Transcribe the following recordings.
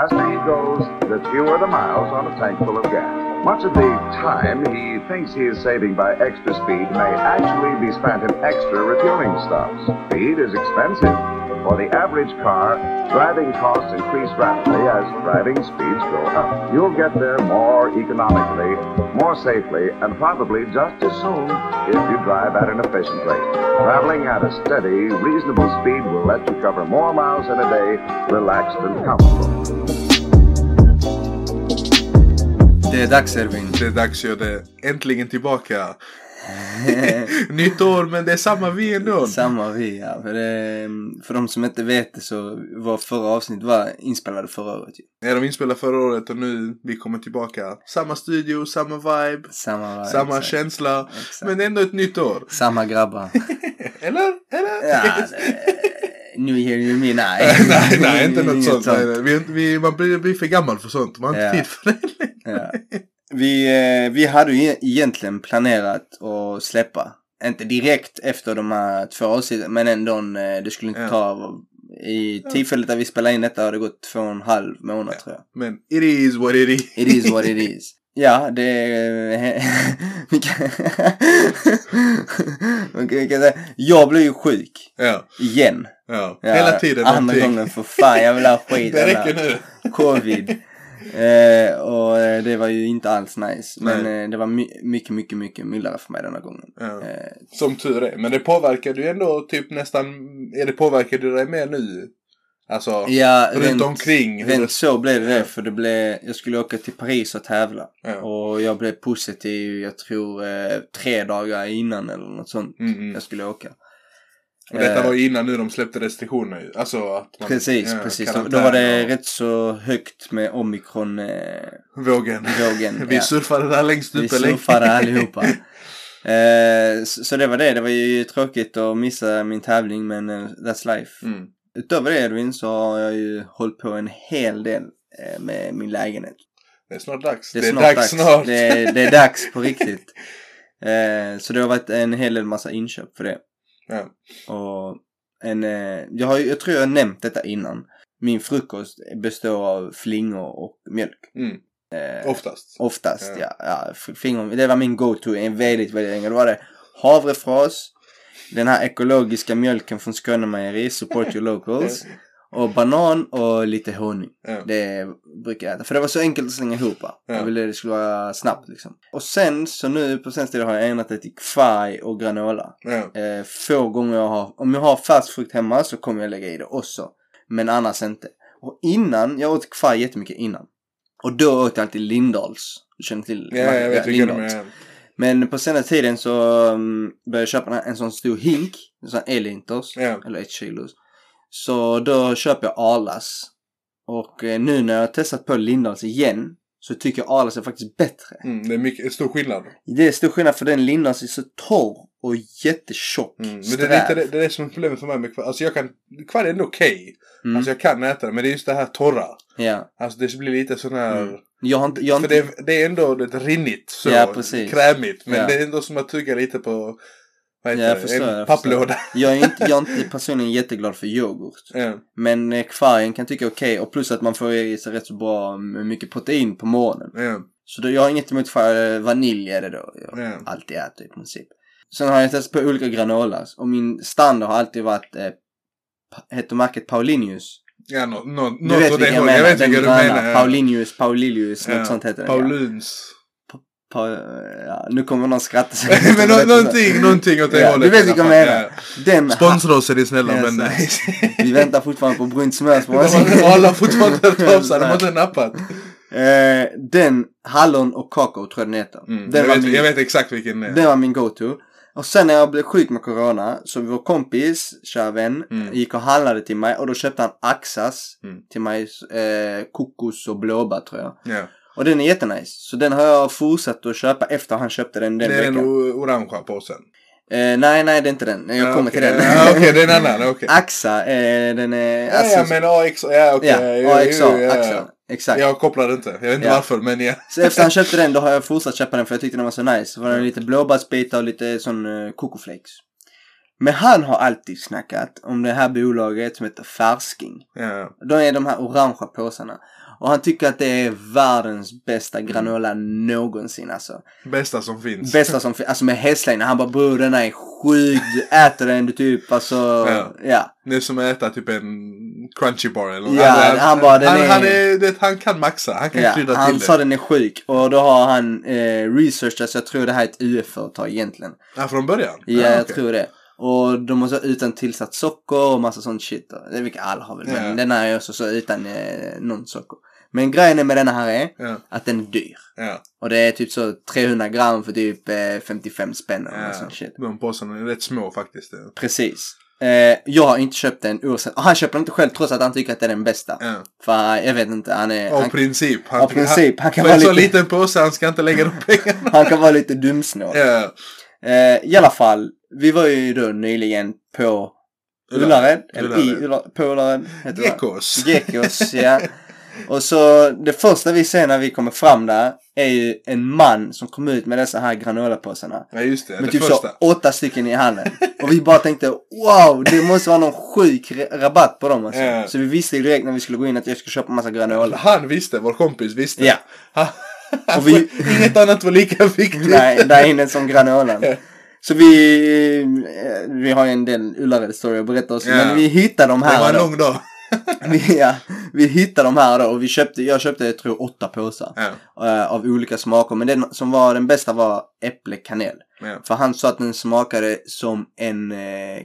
As he goes, the fewer the miles on a tank full of gas. Much of the time he thinks he is saving by extra speed may actually be spent in extra refueling stops. Speed is expensive. For the average car, driving costs increase rapidly as driving speeds go up. You'll get there more economically, more safely, and probably just as soon if you drive at an efficient rate. Traveling at a steady, reasonable speed will let you cover more miles in a day, relaxed and comfortable. Det är dags Erwin. Det är dags jag det. Äntligen tillbaka. Eh. Nytt år men det är samma vi ändå. Samma vi ja. För, det, för de som inte vet det så var förra avsnittet var inspelade förra året. ju. Ja, de inspelade förra året och nu vi kommer tillbaka. Samma studio, samma vibe, Samma vibe, samma exakt. känsla. Exakt. Men ändå ett nytt år. Samma grabbar. Eller? Eller? ja, det- New year new me, nej. nej, nej, inte något Inget sånt. Nej, nej. Vi, vi, man blir, blir för gammal för sånt. Man har inte Ja. tid för det. Ja. Vi, eh, vi hade ju e- egentligen planerat att släppa. Inte direkt efter de här två avsnitten men ändå eh, det skulle inte Ja. ta. I tillfället där vi spelade in detta har det gått två och en halv månad tror jag. Men it is what it is. It is what it is. Ja, det... vi kan- vi kan- vi kan säga- jag blev ju sjuk. Ja, Igen. ja. Ja, Hela tiden Andra någonting. gången för fan, jag vill ha skit. Det räcker jävla nu. Covid. Eh, och eh, det var ju inte alls nice. Men eh, det var my- mycket, mycket, mycket mildare för mig denna gången. Ja. Eh, Som tur är. Men det påverkade ju ändå typ nästan. Är det påverkade dig mer nu? Alltså. ja, Runt omkring, hur Rent det- så blev det för det blev, jag skulle åka till Paris och tävla. Ja. Och jag blev positiv, jag tror, eh, tre dagar innan eller något sånt. Mm, mm. jag skulle åka. Och detta Eh, var ju innan nu de släppte restriktioner ju. Alltså att man, Precis, ja, precis. Då, karantän då var det och rätt så högt med omikron-vågen. Vågen. Vi surfade där längst Vi uppe länge. surfade allihopa. Eh, så, så det var det. Det var ju tråkigt att missa min tävling men eh, that's life. Mm. Utöver det Edvin så har jag ju hållit på en hel del eh, med min lägenhet. Det är snart dags. Det är, dags, snart. Det är, det är dags på riktigt. Eh, så det har varit en hel del massa inköp för det. Ja. Och en, eh, jag, har, ju- jag tror jag har nämnt detta innan. Min frukost består av flingor och mjölk. Mm. Eh, Oftast. Oftast, ja. ja. f- flingor, det var min go-to en väldigt, väldigt länge. Då var det havrefras, den här ekologiska mjölken från Skåne Mejeri, support your locals. Och banan och lite honung. Ja. Det brukar jag äta. För det var så enkelt att slänga ihop. Jag Ja. ville det skulle vara snabbt liksom. Och sen så nu på senaste tiden har jag ändrat det till kvaj och granola. Ja. Eh, få gånger jag har, om jag har färsk frukt hemma så kommer jag lägga i det också. Men annars inte. Och innan, jag åt kvar jättemycket innan. Och då åt jag alltid Lindahls. Du känner till? Ja, jag vet vilka de Lindahls. är. Men på senare tiden så um, började jag köpa en, en sån stor hink. En sån elinters. Ja. Eller ett kilos. Så då köper jag Arlas. Och eh, nu när jag har testat på Lindahls igen. Så tycker jag Arlas är faktiskt bättre. Mm, det är mycket, stor skillnad. Mm. Det är stor skillnad för den Lindahls är så torr och jättetjock. Mm. Men det sträv. är lite det, det är det som är problemet för mig med kvar. Alltså jag kan, kvar är ändå okej. Mm. Alltså jag kan äta det, men det är just det här torra. Ja. Alltså det blir lite sån här... Mm. Jag har inte... Jag har För inte... det är, det är ändå lite rinnigt så. Ja, precis. Krämigt. Men Ja. det är ändå som att tugga lite på... Vad heter Ja, jag det? förstår, en jag papplåda. Jag är, inte, jag är inte personligen jätteglad för yoghurt. Ja. Men eh, kvargen kan tycka okej och plus att man får i sig rätt så bra med mycket protein på morgonen. Ja. Så då, jag har inget emot kvar, eh, vanilj är det då jag Ja. alltid äter i princip. Sen har jag testat på olika granolas och min standard har alltid varit eh, pa- heter märket Paulinius. Ja, nå nå Du något vet åt det vilken jag hållet. menar, Jag vet den vilka du gröna. menar. ja. Paulinius, Paulilius, Ja. något sånt heter den. Ja. Pauluns. Pa- ja, nu kommer någon skratta. så- Men nå någonting, någonting åt det Ja, hållet. du vet i alla vilka jag fall. menar. Ja. Den, Sponsra oss är ni snälla, Ja, men... så. nej. vi väntar fortfarande på brunt smör. De har- Alla har fortfarande hört av sig. De har inte nappat. Eh, den, hallon och kakao tror jag den heter. Mm. den, Jag, var vet, min, jag vet exakt vilken det är. den var min go-to. Och sen när jag blev sjuk med corona, så vår kompis, kära vän, Mm. gick och handlade till mig och då köpte han Axas Mm. till mig, eh, kokos och blåbär tror jag. Ja. Och den är jättenice. Så den har jag fortsatt att köpa efter han köpte den den Det är veckan. den o- orangea påsen. Eh, nej, nej det är inte den. Jag Ja, kommer okej. till den. Ja, Okej, det är en annan. Okej. Axa, eh, den är... Ja, ja, men AX. Ja, okej. Jo, ja, AXA, jo, ja, ja. Axa. Exakt. Jag kopplade inte. Jag vet inte Ja. varför, men ja. Så efter han köpte den, då har jag fortsatt köpa den för jag tyckte den var så nice. Så var det lite blåbärsbitar och lite sån uh, kokoflakes. eh, Men han har alltid snackat om det här bolaget som heter Färsking. Ja. De är de här orangea påsarna. Och han tycker att det är världens bästa granola någonsin alltså. Bästa som finns. Bästa som finns. Alltså med hästlängder. Han bara bror den här är sjuk. Du äter den du typ alltså. Ja. Ja. Ja. Det är som att äta typ en crunchy bar eller något. Alltså, Ja, han bara, den han, är- han, är, det, han kan maxa. Han kan krydda Han till sa det. den är sjuk. Och då har han eh, researchat så jag tror det här är ett UF-företag egentligen. Ja, från början? Ja, jag okej. tror det. Och de måste ha utan tillsatt socker och massa sånt shit. då. Det är vilket alla har väl. Men Ja. den här är också så utan eh, någon socker. Men grejen är med den här är Ja, att den är dyr. ja. Och det är typ så 300 gram för typ eh, 55 spänn eller något ja. sånt shit. De påsarna är rätt små faktiskt. ja. Precis. Eh, jag har inte köpt den oavsett. Och han köper den inte själv trots att han tycker att det är den bästa. Ja. För eh, jag vet inte, han är... Av han, princip. Han, av princip. Han Han, kan för vara en så lite, liten påse, han ska inte lägga de pengarna. han kan vara lite dumsnål. Ja. Eh, I alla fall, vi var ju då nyligen på Ullared. Eller i Ullared. Ulla- på Ullared. heter det. Gekos. Gekos, ja. Och så det första vi ser när vi kommer fram där är ju en man som kom ut med dessa här granolapåsarna. Ja, just det. Med det typ första. så åtta stycken i handen. Och vi bara tänkte wow, det måste vara någon sjuk re- rabatt på dem alltså. Ja. Så vi visste ju direkt när vi skulle gå in att jag skulle köpa massa granola. Han visste, vår kompis visste. Ja. Han, Och vi- Inget annat var lika viktigt. Nej, där inne som granolan. Ja. Så vi, eh, vi har ju en del Ullared-story att berätta också. Ja. Men vi hittade de det var här en då. lång dag. Vi, ja, vi hittade de här då och vi köpte, jag köpte jag tror åtta påsar. Ja, eh, av olika smaker. Men den som var den bästa var äpple kanel. ja, För han sa att den smakade som en eh,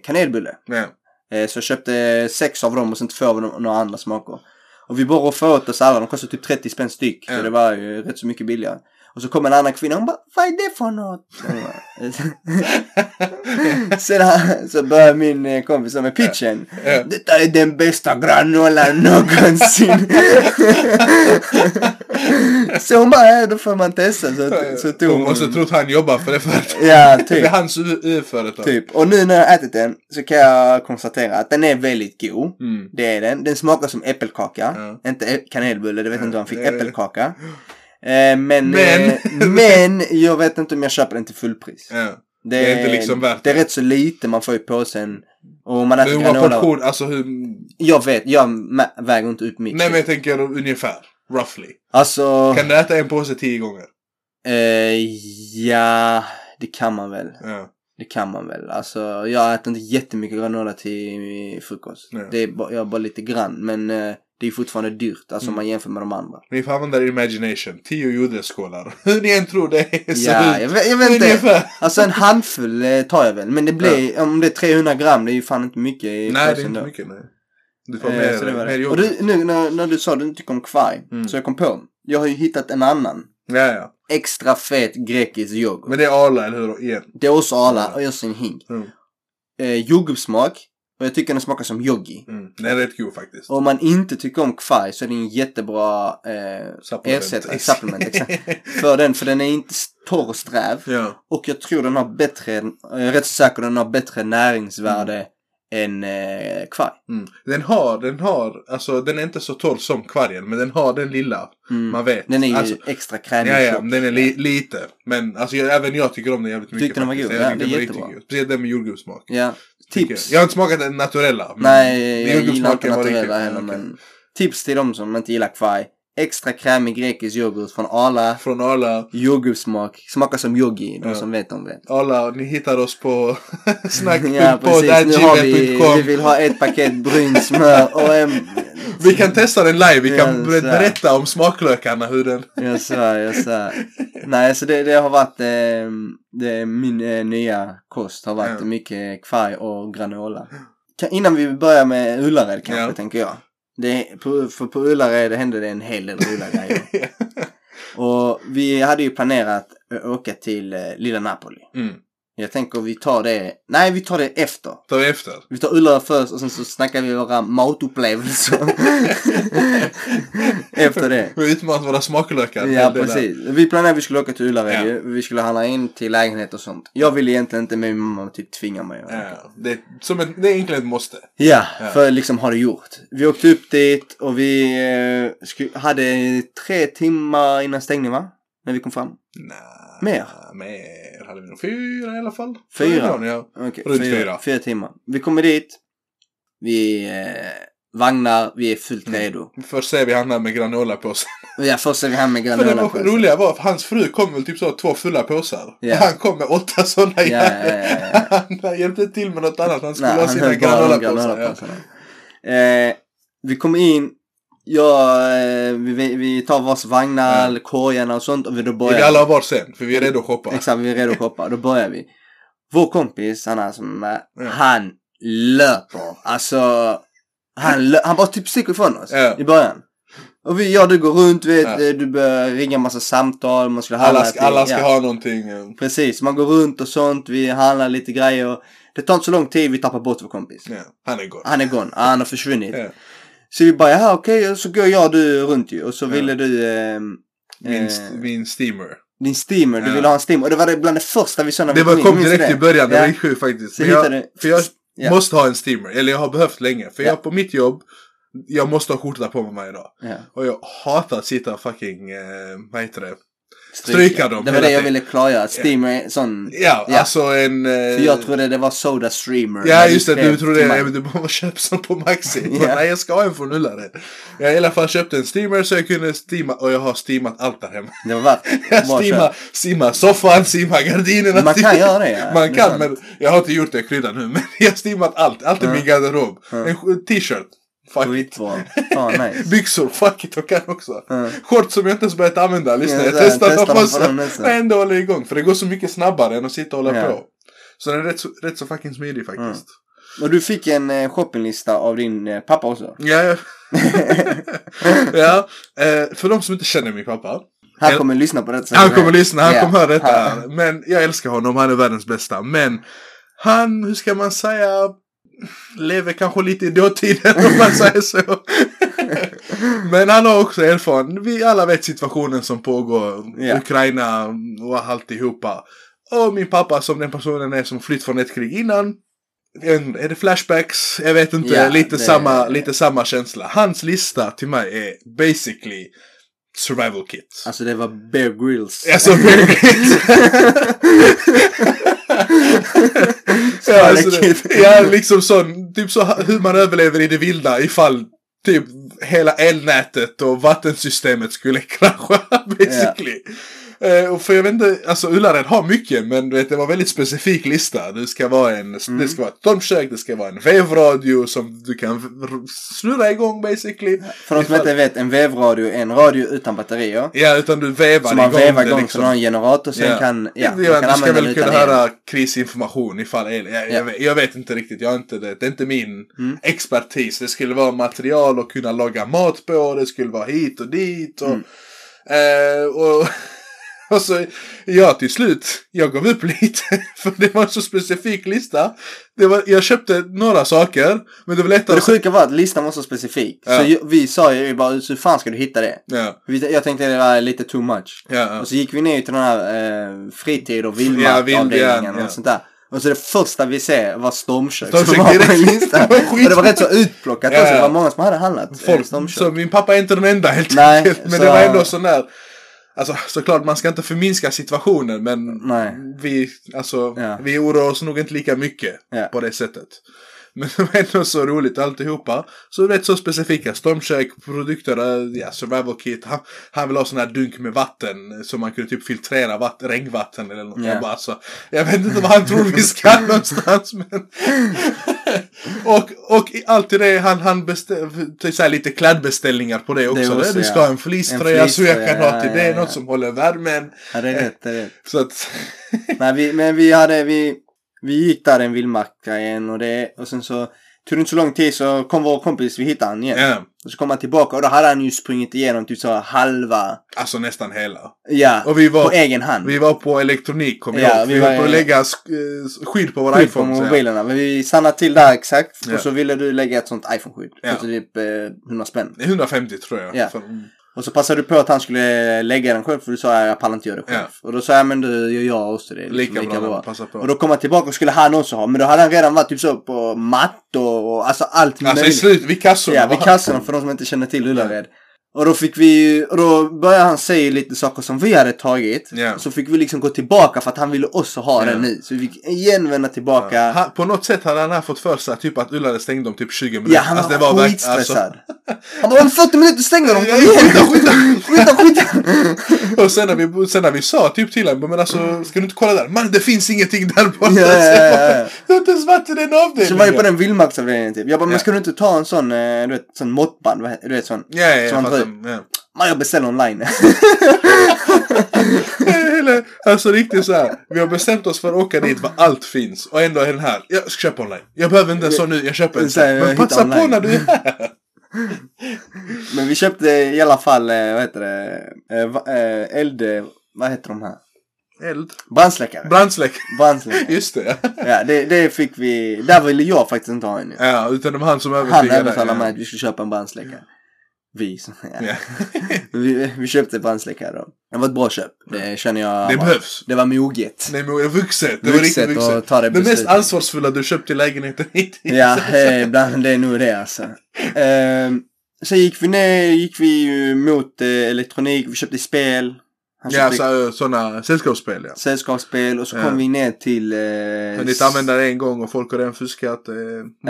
kanelbulle. ja. Eh, så jag köpte sex av dem och sen två av de- några andra smaker. Och vi bara roffade åt oss alla. De kostade typ 30 spänn styck. Så Ja. det var ju rätt så mycket billigare. Och så kom en annan kvinna och hon bara Vad är det för något? Sen så började min eh, kompis med pitchen. Ja. Detta är den bästa granolan någonsin. så hon bara, "Ja, då får man testa. Så, så tog Hon hon. måste trott han jobbar för det företaget. Ja, Det typ. är hans UF-företag. typ. Och nu när jag har ätit den så kan jag konstatera att den är väldigt god. Mm. Det är den. Den smakar som äppelkaka. Ja. Inte ä- kanelbulle, det vet jag inte om han fick. Nej. Äppelkaka. Eh, men, Men. eh, men jag vet inte om jag köper den till fullpris. Ja. Det är inte liksom värt det. är rätt så lite man får i påsen. Och om man äter Men vad granola. portion, alltså hur... Jag vet, jag mä- väger inte upp mitt. Nej men jag tänker ungefär. Roughly. Alltså, Kan du äta en påse tio gånger? eh, ja, det kan man väl. Ja. Det kan man väl. Alltså, jag äter inte jättemycket granola till frukost. Nej. Det är bara, jag bara lite grann. Men eh, det är fortfarande dyrt. Alltså om Mm. man jämför med de andra. Ni får använda er imagination. Tio jordnötsskålar. Hur ni än tror det är så Ja, jag, ut. vet- jag vet inte. Ungefär. Alltså en handfull eh, tar jag väl. Men det blir, om det är 300 gram, det är ju fan inte mycket i Nej det är påsen inte då. mycket nej. Du får Eh, mer, så det var det. mer Och yoghurt. du, nu när, när du sa att du inte tycker om kvarg. Mm. Så jag kom på. Jag har ju hittat en annan. Ja, ja. Extra fet grekisk yoghurt. Men det är Arla, eller hur? Igen. Det är också Ja. ala och just en hink. Mm. Eh, jordgubbssmak. Och jag tycker den smakar som yogi. Mm. Den är rätt god faktiskt. Och om man inte tycker om kvarg så är det en jättebra eh, Supplement. ersättare, supplement, exakt. För den, för den är inte s- torr och sträv. ja. Och Jag tror den har bättre, jag är rätt så säker den har bättre näringsvärde än eh, kvarg. Mm. Den har, den har, alltså den är inte så torr som kvargen, men den har den lilla. Mm. Man vet. Den är ju alltså, extra krämig. Ja, ja, tjock. men den är li- lite. Men alltså, jag, även jag tycker om den jävligt mycket. Tyckte den var faktiskt. god? Jag Ja, det tycker är den var riktigt jättebra. god. Speciellt den med jordgubbssmak. Ja. tycker Tips. Jag. mm. jag har inte smakat den naturella. men Nej, jag gillar inte jordgubbssmaken var riktigt- naturella heller ja, okej. men tips till de som inte gillar kvarg. Extra krämig grekisk yoghurt från Arla. Från Arla. Jordgubbssmak. Smakar som yogi, de Ja. som vet om det. Arla, ni hittar oss på Mm, Ja precis, nu har vi, vi snack.podd.gmail.com. vill ha ett paket brynt smör och en... Vi kan testa den live. Vi kan Ja, ber- så här. berätta om smaklökarna. Hur den... Jag svär, jag svär. Nej, så det, det har varit eh, det, min eh, nya kost har varit Ja. mycket kvarg och granola. Kan, innan vi börjar med Ullared kanske, Ja. tänker jag. Det, på, för på Ullared hände det en hel del roliga grejer. Och vi hade ju planerat att åka till eh, lilla Napoli. Mm. Jag tänker vi tar det, nej vi tar det efter. Ta efter. Vi tar Ullared först och sen så snackar vi våra matupplevelser. Efter det. Vi utmanat våra smaklökar. Ja Till det där. precis. Vi planerade att vi skulle åka till Ullared Ja. ju. Vi skulle handla in till lägenhet och sånt. Jag ville egentligen inte men min mamma typ tvingade mig. att åka. Ja, det, är som ett, det är egentligen ett måste. Ja, Ja. för liksom har det gjort. Vi åkte upp dit och vi eh, sku- hade tre timmar innan stängning va? när vi kom fram? Nej. Mer? Mer hade vi nog. Fyra i alla fall. Fyra? Fyra, ja. Okej, Runt fyra, fyra. fyra timmar. Vi kommer dit. Vi eh, vagnar, vi är fullt Mm. redo. Först ser vi han där med granola på sig. Ja, först är vi här med För det granola. var, roliga var att hans fru kom väl typ så två fulla påsar. Ja. Han kom med åtta sådana Ja, ja, ja, ja. Han- Han hjälpte inte till med något annat. Han skulle Nej, ha han sina höll bara de granolapåsar. Ja. granolapåsarna. Eh, vi kommer in. Ja, eh, vi- vi, vi tar vars vagnar, korgarna och sånt och vi då Vi börjar vill alla ha var sen, för vi är redo att shoppa. Exakt, vi är redo att shoppa. Då börjar vi. Vår kompis, han är som är med, Ja. han löper. Alltså, han, lö- han bara typ sticker ifrån oss Ja. i början. Och vi, ja du går runt, du vet, Ja. eh, du börjar ringa massa samtal, man skulle handla Alla ska, till- alla ska ja. ha någonting. eh, Precis, man går runt och sånt, vi handlar lite grejer. Det tar inte så lång tid, vi tappar bort vår kompis. Ja. Han är god. Han är gone, ah, han har försvunnit. Ja. Så vi bara, ja okej, och så går jag och du runt ju. Och så Ja. ville du eh, Min, eh, min steamer. din steamer, du Ja. ville ha en steamer. Och det var det bland det första vi sa när Det vi var, in, kom minns du direkt det? i början, det Ja. var sju faktiskt. Så Men jag, hittade du- för jag Ja. måste ha en steamer, eller jag har behövt länge. För Ja. jag på mitt jobb, jag måste ha skjorta på mig varje dag. Ja. Och jag hatar att sitta och fucking, eh, vad heter det? Stryka. Stryka dem Det var hela det jag tiden. ville klargöra, att steamer är en sån... Ja, Ja. alltså en... eh, För jag trodde det var soda streamer. Ja när just det, skrev du trodde till det. mig. Ja, men du bara köp som på Maxi. Ja. Nej jag ska ha en från Ullared. Jag i alla fall köpte en steamer så jag kunde steama och jag har steamat allt där hemma. Det var värt Jag bra steamar, steamar soffan, steamar gardinerna. köp. Man kan göra det ja. Liksom. Man Det är sant. kan men jag har inte gjort det kryddan nu. Men jag har steamat allt. Allt i Ja. min garderob. Ja. En sk- t-shirt. Fuck it. Skitbra. Fan nice. Byxor, fuck it, jag kan också. Ja. Shorts som jag inte ens börjat använda, lyssna. Ja, jag så här, testar testa att ha dem på på dem sig. nästan. Men ändå håller jag igång. För det går så mycket snabbare än att sitta och hålla Ja. på. Så den är rätt så, rätt så fucking smidig faktiskt. Och du fick en eh, shoppinglista av din eh, pappa också. Ja, ja. ja. Eh, för de som inte känner min pappa. Han Ja. kommer lyssna på detta. sen. Han kommer lyssna, han Ja. kommer höra detta. Ja. Men jag älskar honom, han är världens bästa. Men han, hur ska man säga, lever kanske lite i dåtiden om man säger så. Men han har också erfarenhet. Vi alla vet situationen som pågår. Ja. Ukraina och alltihopa. Och min pappa som den personen är som flytt från ett krig innan. En, är det flashbacks? Jag vet inte. Ja, lite, det- samma, lite samma känsla. Hans lista till mig är basically survival kit. Alltså det var Bear Grylls. Alltså verkligen. ja, alltså, det- ja, liksom sån, typ så hur man överlever i det vilda ifall typ hela elnätet och vattensystemet skulle krascha basically. Eh, och för jag vet inte, alltså Ullared har mycket men du vet, det var väldigt specifik lista. Det ska vara en, Mm. det ska vara ett tomkök, det ska vara en vevradio som du kan r- snurra igång basically. För de som inte vet, en vevradio är en radio utan batterier. Ja, utan du vevar Så man igång vevar det igång så liksom. den har en generator sen kan... Ja, man kan du ska använda den väl kunna utan höra el. krisinformation ifall el. Jag, Ja. jag, vet, jag vet inte riktigt, jag har inte det. Det är inte min Mm. expertis. Det skulle vara material och kunna laga mat på. Det skulle vara hit och dit. Och, Mm. eh, och, och så, ja till slut, jag gav upp lite. För det var en så specifik lista. Det var, jag köpte några saker. Men det var Och lättare det sjuka var att listan var så specifik. Ja. Så ju- vi sa ju bara, hur fan ska du hitta det? Ja, Vi- Jag tänkte det var lite too much. ja, ja. Och så gick vi ner till den här eh, fritid och Ja, vildmarkavdelningen vild, ja, ja. och sånt där. Och så det första vi ser var stormkök som Stormkök var på direkt. en lista. Det var och skit- det var rätt så utplockat Ja, också. Det ja. var många som hade handlat eh, folk. stormkök. Så min pappa är inte den enda helt Nej, enkelt. Men så- det var ändå sån där. Alltså såklart man ska inte förminska situationen men Nej. vi, alltså, Ja. vi oroar oss nog inte lika mycket Ja. på det sättet. Men det var ändå så roligt alltihopa. Så rätt så specifika. Stormkök, produkter, eh, ja, survival kit. Han, han vill ha sån här dunk med vatten. eh, Så man kunde typ filtrera vatten, regnvatten eller något. Ja. Jag bara alltså, jag vet inte vad han tror vi ska någonstans men. och, och i- allt i det, han, han beställde så här lite klädbeställningar på det också. också, du ska ja. ha en fleecetröja så jag fleecetröja, kan ha till ja, det. ja, Något ja. som håller värmen. Ja, det är rätt, det är rätt. Så att, Nej, vi, men vi hade, vi, vi gick där en vildmarka igen och det, och sen så tog det inte så lång tid så kom vår kompis, vi hittade han igen. ja. Och så kom han tillbaka och då hade han ju sprungit igenom typ så halva, Alltså nästan hela. ja, Och vi på var, egen hand. vi var på elektronik, kommer Ja, jag ihåg. vi Vi var- var på att lägga sk- eh, skydd på våra skydd på iPhones. ja. mobilerna. Men vi stannade till där exakt. Ja. Och så ville du lägga ett sånt iPhone-skydd. Ja. För typ eh, 100 spänn. Det är 150 tror jag. Ja. För, Och så passade du på att han skulle lägga den själv. För du sa "Ja, jag pallar inte göra det själv. Och då sa jag men du gör jag också det. är liksom lika, bra, bra. passa på. Och då kom han tillbaka och skulle han också ha. Men då hade han redan varit typ så på mattor och alltså allt alltså i möjligt. slut, vid kassorna. Ja, vid va? kassorna för de som inte känner till Ullared. Och då fick vi ju- och då började han säga lite saker som vi hade tagit. Ja. Så fick vi liksom gå tillbaka för att han ville också ha Ja. den nu. Så vi fick igen vända tillbaka. Ja. Han, på något sätt hade han här fått för sig typ att Ullare stängde om typ 20 minuter. han Alltså, det var, verk- alltså- skitstressad. Han bara om 40 minuter stänger de! Ja, Kom igen! skita, Skita, skita. skita! Alltså, och sen när, vi, sen när vi sa typ till honom, men alltså ska du inte kolla där? Man det finns ingenting där borta. Ja, ja, ja, ja. Det har inte ens varit i den avdelningen. Så var jag på den vildmarksavdelningen typ. Jag bara, Ja. men ska du inte ta en sån, eh, du vet, sån måttband? Vad he- Du vet sån. Ja, ja, jag som han fattar. tar Ja. Man jag beställer online. Eller, alltså riktigt så här. Vi har bestämt oss för att åka dit var allt finns. Och ändå är den här. Jag ska köpa online. Jag behöver inte en sån nu. Jag köper en Så sån. här, jag Men hittar passa på online. när du är här. men vi köpte i alla fall, eh, vad heter det, eh, va- eh, eld, eh, vad heter de här? Eld. Brandsläckare. Brandsläckare. Brandsläckare. Just det. ja. Ja, det, det fick vi, där ville jag faktiskt inte ha en. ju. Ja, utan det var han som Han övertygade. övertalade ja. mig att vi skulle köpa en brandsläckare. Vi, som- ja. Ja. vi, vi köpte brandsläckare då. Det var ett bra köp, det känner jag. Mm. Det var- behövs. Det var moget. Nej men det är vuxet. Det var riktigt Vuxet vuxet. att ta det Det mest beslutet. ansvarsfulla du köpt till lägenheten hittills. Ja, eh, ibland det är nog det alltså. Ehm, sen gick vi ner, gick vi ju mot eh, elektronik, vi köpte spel. Han Ja, köpte alltså sådana sällskapsspel ja. sällskapsspel och så Ja. kom vi ner till... Eh, Men inte använda det en gång och folk har redan fuskat. Eh,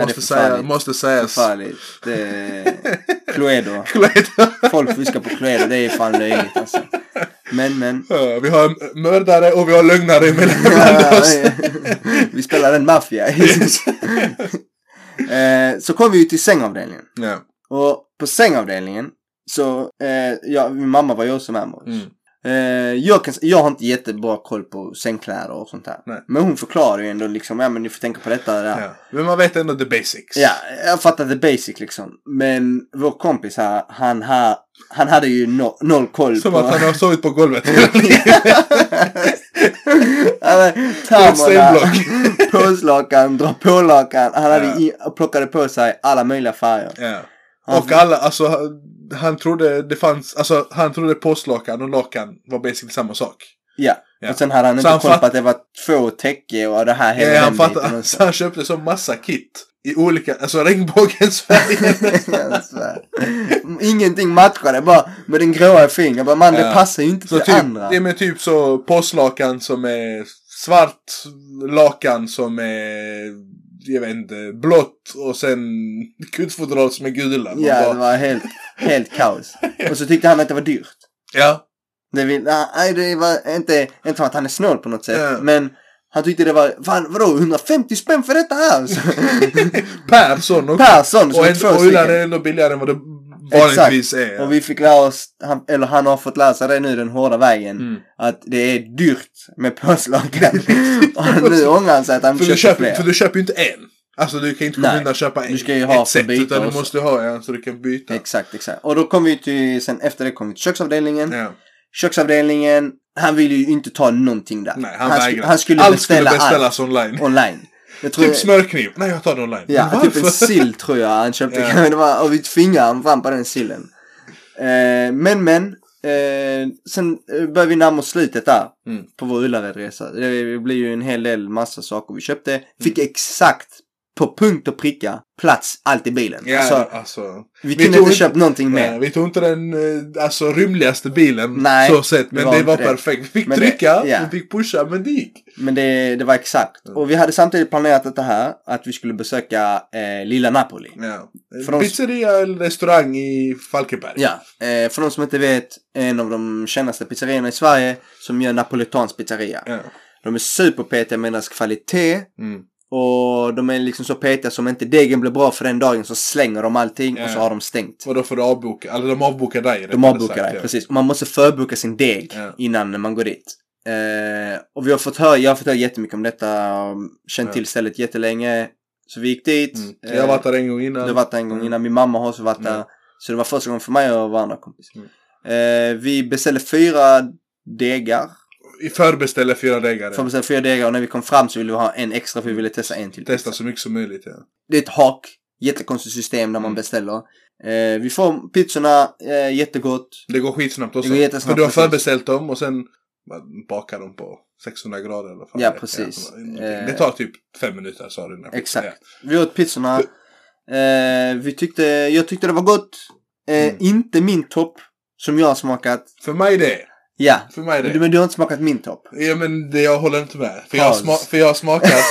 måste, säga, förfärligt. måste sägas. Förfärligt. Eh, Cluedo. Kläder. Folk fuskar på Cluedo, det är fan löjligt alltså. Men, men. Ja, vi har mördare och vi har lögnare emellan bland oss. vi spelar en maffia. eh, så kom vi ju till sängavdelningen. Ja. Och på sängavdelningen så, eh, ja, min mamma var ju också med oss. Mm. Eh, jag, kan, jag har inte jättebra koll på sängkläder och sånt där. Nej. Men hon förklarar ju ändå liksom, ja men ni får tänka på detta och det där. Ja. Men man vet ändå the basics. Ja, jag fattar the basic liksom. Men vår kompis här, han, ha, han hade ju no, noll koll Som på... att han har sovit på golvet hela livet. Alltså, stenblock. termorna, påslakan, dra på lakan. Han hade Ja. i, plockade på sig alla möjliga färger. Ja. Han- Och alla, alltså han- han trodde det fanns, alltså han trodde påslakan och lakan var basically samma sak. Ja. Ja. Och sen hade han Så inte han koll fatt- på att det var två täcke och det här hela Ja, han, hembiten fattade, och så. så han köpte så massa kit i olika, alltså regnbågens färger. Alltså, Ingenting matchade bara med den gråa fingern. Jag bara man det Ja. passar ju inte så till typ, andra. det är med typ så påslakan som är svart, lakan som är, jag vet inte, blått och sen kuddfodral som är gula. Man Ja bara- det var helt, helt kaos. Och så tyckte han att det var dyrt. ja. Det vill, "Ah, nej det var inte, inte för att han är snål på något sätt. Ja. Men han tyckte det var, fan vadå 150 spänn för detta här? Så, Persson och, Persson som och, är en, två och ulan är stycken. ändå billigare än vad det vanligtvis är. Och vi fick lära oss, han, eller han har fått lära sig det nu den hårda vägen. Mm. Att det är dyrt med påslakan. och nu ångrar han sig att han För du, köpte köper, för fler. du köper ju inte en. Alltså du kan inte komma Nej. undan och köpa en. Du ska ju ha ett set, byta utan du också. måste ha en så du kan byta. Exakt, exakt. Och då kom vi till, sen efter det kom vi till köksavdelningen. Ja. Köksavdelningen, han ville ju inte ta någonting där. Nej, han, sku- vägrar. han skulle allt beställa skulle allt beställas online. online. Jag tror, Typ smörkniv. Nej, jag tar det online. Men ja, typ en varför? sill tror jag han köpte. Ja. det var, och vi tvingade honom fram på den sillen. Eh, men, men. Eh, sen eh, började vi närma oss slutet där. Mm. På vår Ullared-resa. Det blev ju en hel del massa saker vi köpte. Mm. Fick exakt på punkt och pricka plats allt i bilen. Ja, alltså, alltså, vi, vi kunde tog inte inte- köpt någonting mer. nej, vi tog inte den eh, alltså, rymligaste bilen Nej, så sett, det men var det var inte det. perfekt. Vi fick Men det- trycka, ja. vi fick pusha, men det gick. Men det, det var exakt. Mm. Och vi hade samtidigt planerat det här. Att vi skulle besöka eh, lilla Napoli. Ja. Eh, För de- Pizzeria eller restaurang i Falkenberg. Ja, eh, för de som inte vet. En av de kändaste pizzerierna i Sverige. Som gör napolitansk pizzeria. Ja. De är superpetiga med deras kvalitet. Mm. Och de är liksom så petiga som inte degen blir bra för den dagen så slänger de allting och så Ja. har de stängt. Och då får du avboka, eller de avbokar dig. De rättare avbokar sagt, dig, ja. precis. Och man måste förboka sin deg Ja. innan man går dit. Eh, och vi har fått höra, jag har fått höra jättemycket om detta. och Känt Ja. till stället jättelänge. Så vi gick dit. Mm. eh, Jag har varit där en gång innan. Du har varit där en gång innan, min mamma har också varit där. Mm. Så det var första gången för mig och vår andra kompis. Mm. Eh, vi beställde fyra degar. I förbeställer fyra degar. Får beställa fyra degar och när vi kom fram så ville vi ha en extra för vi ville testa en till. Testa så mycket som möjligt. Ja. Det är ett hak. Jättekonstigt system när man Mm. beställer. Eh, vi får pizzorna, eh, jättegott. Det går skitsnabbt också. Det går jättesnabbt, för du har precis. förbeställt dem och sen bakar dem på 600 grader eller vad Ja, det är. precis. Eh. Ja, det tar typ fem minuter sa du. när jag- Exakt. Ja. Vi åt pizzorna. Eh, vi tyckte, jag tyckte det var gott. Eh, Mm. Inte min topp Som jag har smakat. För mig det. Ja. För mig Men du, det. men du har inte smakat min topp. Ja men det, jag håller inte med. För jag, har Pals. sma, för jag har smakat.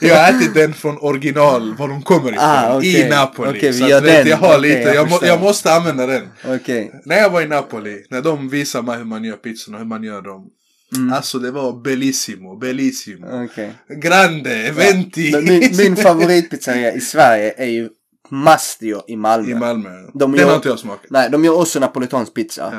Jag har ätit den från original, var de kommer ifrån. Ah, okej. I Napoli. Okej, vi så att, gör vet, den. jag har Okej, lite, jag jag, må, förstår. jag måste använda den. Okej. När jag var i Napoli, när de visade mig hur man gör pizzorna, hur man gör dem. Mm. Alltså det var bellissimo, bellissimo. Okej. Grande, venti. Men Min, min favoritpizzeria i Sverige är ju Mastio i Malmö. I Malmö. De den gör- har inte jag smakat. Nej, de gör också napolitansk pizza.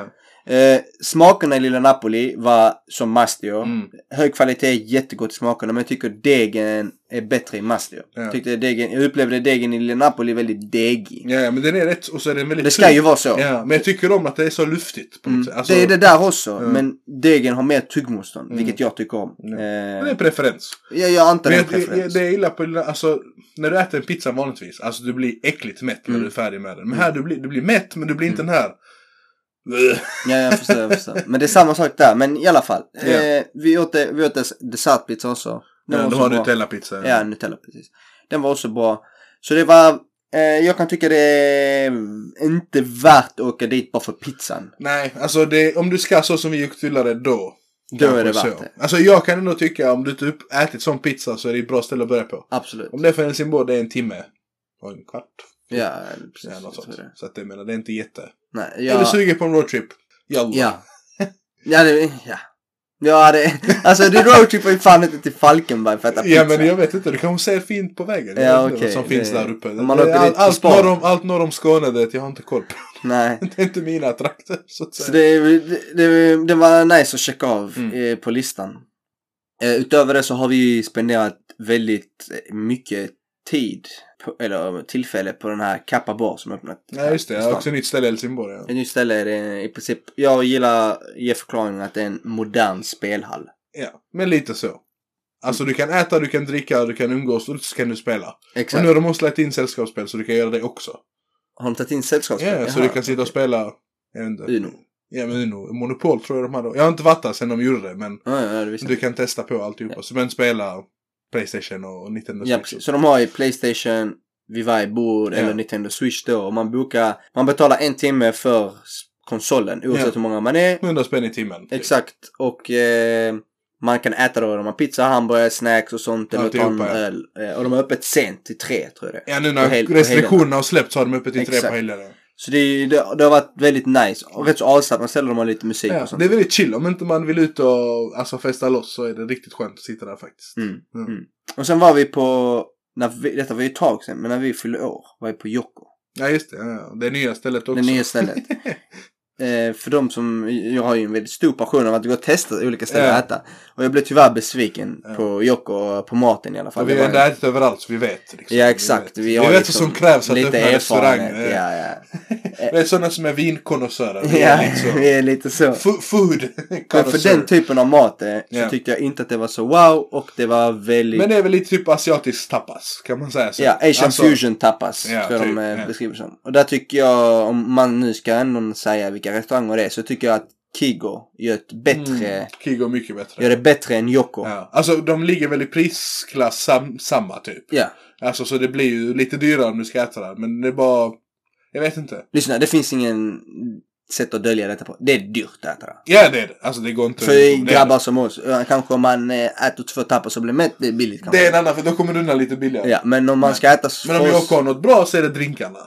Eh, smakerna i lilla Napoli var som Mastio. Mm. Hög kvalitet, jättegott i smakerna. Men jag tycker degen är bättre i Mastio. Ja. Tyckte degen, jag upplevde degen i lilla Napoli väldigt degig. Ja, ja, men den är rätt, och så är den väldigt Det ska ju tunn. vara så. Mm. Ja, men jag tycker om att det är så luftigt. På något sätt. Alltså, det är det där också, Mm. men degen har mer tuggmotstånd, Mm. vilket jag tycker om. Ja. Eh, det är preferens. jag, jag antar Men det är jag, en preferens. det jag gillar på lilla- alltså, när du äter en pizza vanligtvis, alltså du blir äckligt mätt när Mm. du är färdig med den. Men här, du blir, du blir mätt, men du blir inte den här. Ja, jag förstår, jag förstår. Men det är samma sak där, men i alla fall. Eh, vi åt, det- vi åt dess- dessertpizza också. Den Ja, var du också har bra. Nutella-pizza. Ja, Nutella precis. Den var också bra. Så det var, eh, jag kan tycka det är inte värt att åka dit bara för pizzan. Nej, alltså det, om du ska så som vi gick till det då. Då är det kanske värt så. det. Alltså jag kan ändå tycka om du inte upp, ätit sån pizza så är det ett bra ställe att börja på. Absolut. Om det är för Helsingborg, det är en timme. Och en kvart. Ja, Ja, precis. något jag tror sånt. det. Så att jag menar, det är inte jätte... Nej, Är du jag... sugen på en roadtrip? Jalla. Ja. Ja, det... Ja. Ja, det... Alltså det roadtripar ju fan inte till Falkenberg för att äta Ja pizza. men jag vet inte, du kanske ser fint på vägen. Jag Liksom. Ja, vet inte okej, vad som finns det- där uppe. om man Det- åker dit allt, på allt, spa. norr om, allt norr om Skåne, det, jag har inte koll på. Nej. Det är inte mina trakter, så att Så säga. det, det, det, det var nice att checka av Mm. eh, på listan. Eh, utöver det så har vi spenderat väldigt eh, mycket tid, på, eller eh, tillfälle, på den här Kappa Bar som öppnat. Nej här just det, i jag stan. har också ett nytt ställe i Helsingborg. Ja. Ett nytt ställe är det eh, i princip, jag gillar, ge förklaringen att det är en modern spelhall. ja, men lite så. Alltså du kan äta, du kan dricka, du kan umgås och så kan du spela. Och Exakt. nu har de också lagt in sällskapsspel så du kan göra det också. Har de tagit in Ja, sällskapsspel? så du kan sitta och spela. Jag vet inte. Uno. Ja men Uno. Monopol tror jag de hade. Jag har inte varit där sen de gjorde det men Ja, ja, det visste du jag. kan testa på alltihopa. Så, men spela Playstation och Nintendo Ja, precis. Så de har ju Playstation vid varje bord Ja. eller Nintendo Switch då. Och man bokar, man betalar en timme för s- konsolen oavsett Ja. hur många man är. 100 spänn i timmen. typ. Exakt. Och eh, man kan äta då. De har pizza, hamburgare, snacks och sånt. Eller ta en Alltihopa, ja. öl. Eh, Och de har öppet sent till tre tror jag det är. Ja nu På när hel- på restriktionerna har släppts har de öppet i tre Exakt. på helgerna. Så det, är ju- det, det har varit väldigt nice. Och rätt så avslappnat ställe. De har lite musik Ja, Typ och sånt. det är väldigt chill. Om inte man vill ut och alltså, festa loss så är det riktigt skönt att sitta där faktiskt. Mm. Mm. Mm. Och sen var vi på, när vi, detta var ju ett tag sen, men när vi fyllde år var vi på Jocko. Ja just det. Ja, ja. Det nya stället också. Det nya stället. Eh, för de som, jag har ju en väldigt stor passion av att gå och testa olika ställen Ja. att äta. Och jag blev tyvärr besviken Ja. på Jocko och på maten i alla fall. Och vi Det har var- ändå ätit överallt så vi vet. liksom. Ja exakt. Vi har vet, vi vet liksom vad som krävs att lite öppna en restaurang. erfarenhet. Ja. Ja, ja. Vi är sådana som är vinkonnässörer. Vi ja är liksom vi är lite så. fu- food Men för connoisseur. den typen av mat eh, så Ja. tyckte jag inte att det var så wow och det var väldigt... Men det är väl lite typ asiatisk tapas. Kan man säga så? Ja, Asian Alltså, fusion tapas Ja, tror jag typ, de eh, ja. beskriver som. Och där tycker jag, om man nu ska ändå säga vilka restauranger det är, så tycker jag att Kigo gör ett bättre, Mm, Kigo är mycket bättre. gör det bättre än Yoko. Ja. Ja. Alltså de ligger väl i prisklass sam- samma typ. Alltså så det blir ju lite dyrare om du ska äta där. Men det är bara... Jag vet inte. lyssna det finns ingen sätt att dölja detta på. Det är dyrt att äta det. Ja det är det. Alltså det går inte... det, För är- grabbar som oss, eh, kanske om man eh, äter två tapas och blir mätt, det är billigt kanske. det är en annan för då kommer du undan lite billigare. Ja, men om man Nej. ska äta så Men om för jag oss- har något bra så är det drinkarna.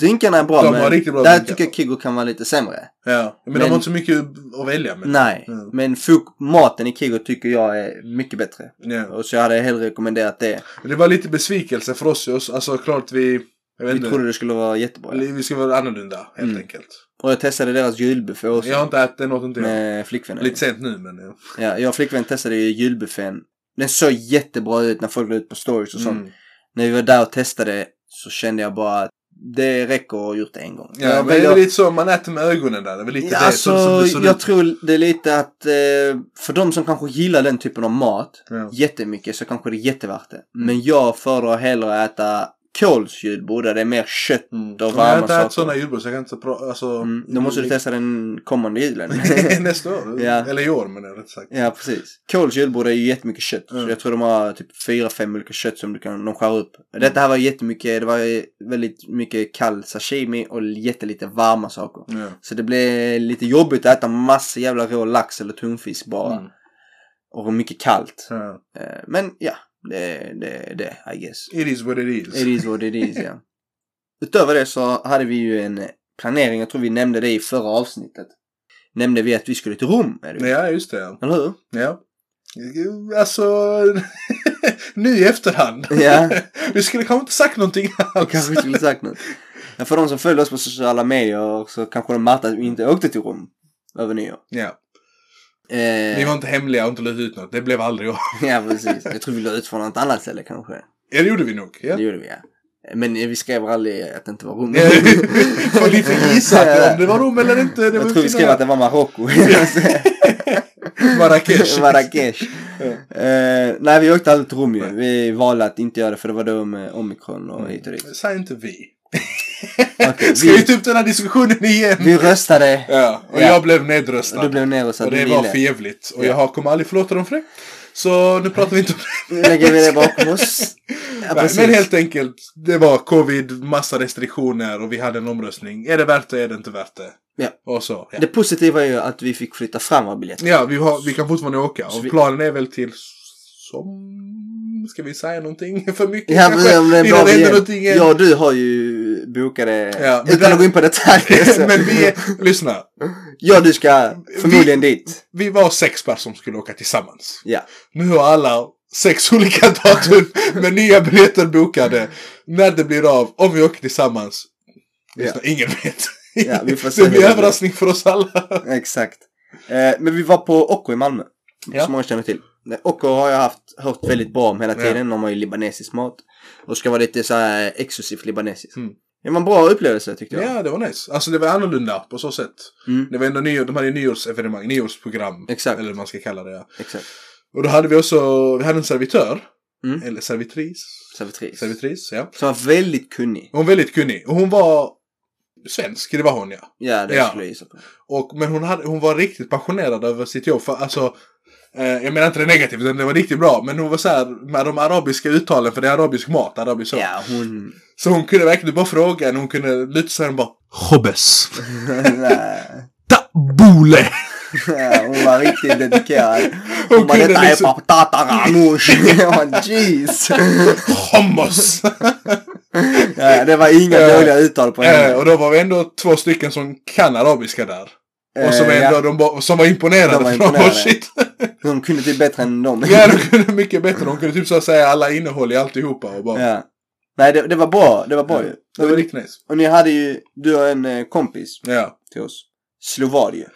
Drinkarna är bra, De har men riktigt bra där drinkar. tycker jag Kigo kan vara lite sämre. Ja. Men, de Men- har inte så mycket att välja med. Nej, Mm. men fok- maten i Kigo tycker jag är mycket bättre. Ja. Och så hade jag hellre rekommenderat det. Men det var lite besvikelse för oss. just- Alltså klart vi... Jag vet Vi inte. trodde det skulle vara jättebra. Eller Vi ska vara annorlunda helt Mm. enkelt. Och jag testade deras julbuffé också. Jag har inte ätit något inte jag. Med flickvännen. Lite sent nu men. Ja. Ja, jag och flickvännen testade ju julbuffén. Den såg jättebra ut när folk la ut på stories och sånt. Mm. När vi var där och testade så kände jag bara att det räcker att ha gjort det en gång. Ja, jag men det är väljer- lite så man äter med ögonen där. Det är väl lite Ja, det alltså, som, som det ser jag ut. tror det är lite att eh, för de som kanske gillar den typen av mat Ja. Mm. jättemycket så kanske det är jättevärt det. Men jag föredrar hellre att äta kolsjulbord där det är mer kött Mm. och Jag har varma inte ätit sådana saker. julbord så jag kan inte prata. Alltså, Mm. Då måste du testa den kommande julen. Nästa år. Ja. Eller i år menar jag rätt sagt. ja, precis. Kåls julbord är ju jättemycket kött. Mm. Så jag tror de har typ fyra, fem olika kött som du kan, de skär upp. Mm. Detta här var jättemycket, det var ju väldigt mycket kall sashimi och jättelite varma saker. Ja. Så det blev lite jobbigt att äta massa jävla rå lax eller tonfisk bara. Mm. Och mycket kallt. Ja. Eh, Men ja, det det, det I guess. It is what it is. It is what it is, ja. Utöver det så hade vi ju en planering, jag tror vi nämnde det i förra avsnittet. Nämnde vi att vi skulle till Rom, är det ju. Ja, just det. Eller hur? Ja. Alltså, nu i efterhand. Ja. Vi skulle kanske inte sagt någonting alls. Jag kanske skulle sagt något. Ja, För de som följer oss på sociala medier så kanske de märkte att vi inte åkte till Rom över nyår. Ja. Eh, Vi var inte hemliga och inte lade ut något. Det blev aldrig av. Ja, precis. Jag tror vi la ut från något annat ställe kanske. Ja, det gjorde vi nog. Ja. Det gjorde vi, ja. Men eh, vi skrev aldrig att det inte var Rom. Får lite gissat om det var Rom eller inte. Det var Jag tror vi skrev att det var Marocko. Marrakesh. Marrakesh. Ja. Eh, nej, vi åkte aldrig till Rom ju. Vi valde att inte göra det för det var då med omikron och hit och dit. Säg inte vi. Okej, Mm. Ska vi vi, ta upp den här diskussionen igen? vi röstade Ja, och Ja. jag blev och nedröstad. du blev nervös och att du det var för ville. jävligt. Och Ja. jag har- kommer aldrig förlåta dem för det. Så nu pratar vi inte om det. Nu lägger vi det bakom oss. Ja, Nej, precis. men helt enkelt, det var covid, massa restriktioner och vi hade en omröstning. Är det värt det, är det inte värt det? Ja. Och så. Ja, Det positiva är ju att vi fick flytta fram vår biljett. ja vi, har, vi kan fortfarande åka. Så Och vi- planen är väl till som... Ska vi säga någonting för mycket Ja, kanske? precis, om det är Innan bra det händer igen. någonting igen. Jag och du har ju bokade, Ja, men utan där- att gå in på detaljer. Så. men vi är, lyssna. Jag och du ska förmodligen dit. Vi var sex personer som skulle åka tillsammans. Ja. Nu har alla sex olika datum med nya biljetter bokade. När det blir av, om vi åker tillsammans. Lyssna, Ingen vet. Ja, vi får se det hur blir det överraskning för oss alla. Exakt. Eh, men vi var på Occo i Malmö. Ja. Som många känner till. Eh, Occo har jag haft, hört väldigt bra om hela tiden. De har ju libanesisk mat. Och ska vara lite så här exklusivt libanesiskt. Mm. Det var en bra upplevelse tyckte jag. Ja, det var nice. Alltså det var annorlunda på så sätt. Mm. Det var ändå nyår, de hade ju nyårsevenemang, nyårsprogram. Exakt. Eller vad man ska kalla det. Ja. Exakt. Och då hade vi också, vi hade en servitör. Mm. Eller servitris. Servitris. Servitris, ja. Som var väldigt kunnig. Hon var väldigt kunnig. Och hon var svensk, det var hon ja. Ja, det Ja. skulle jag gissa på. Och, men hon, hade, hon var riktigt passionerad över sitt jobb. För, alltså, eh, jag menar inte det negativt, utan det var riktigt bra. Men hon var så här med de arabiska uttalen, för det är arabisk mat, arabisk så. Ja, hon... Så hon kunde verkligen du bara fråga henne, hon kunde luta sig och bara Jobbes. Nej. Tabule. Ja, hon var riktigt dedikerad. Hon, Hon bara kunde detta liksom- är patata ganoush. Jag bara, Jeez. Hummus. Ja, det var inga Eh, dåliga uttal på henne. eh, och då var vi ändå två stycken som kan arabiska där. Och som, Eh, ändå, ja. de bara, som var imponerade. De var för de bara, imponerade. shit. Hon kunde typ bättre än dem. ja, de kunde mycket bättre. De kunde typ så här säga alla innehåll i alltihopa. Och bara, Eh, Ja. Nej, det, det var bra. Det var bra ju. Det var riktigt nice. Och ni hade ju, du har en eh, kompis Ja. till oss. Slovadie.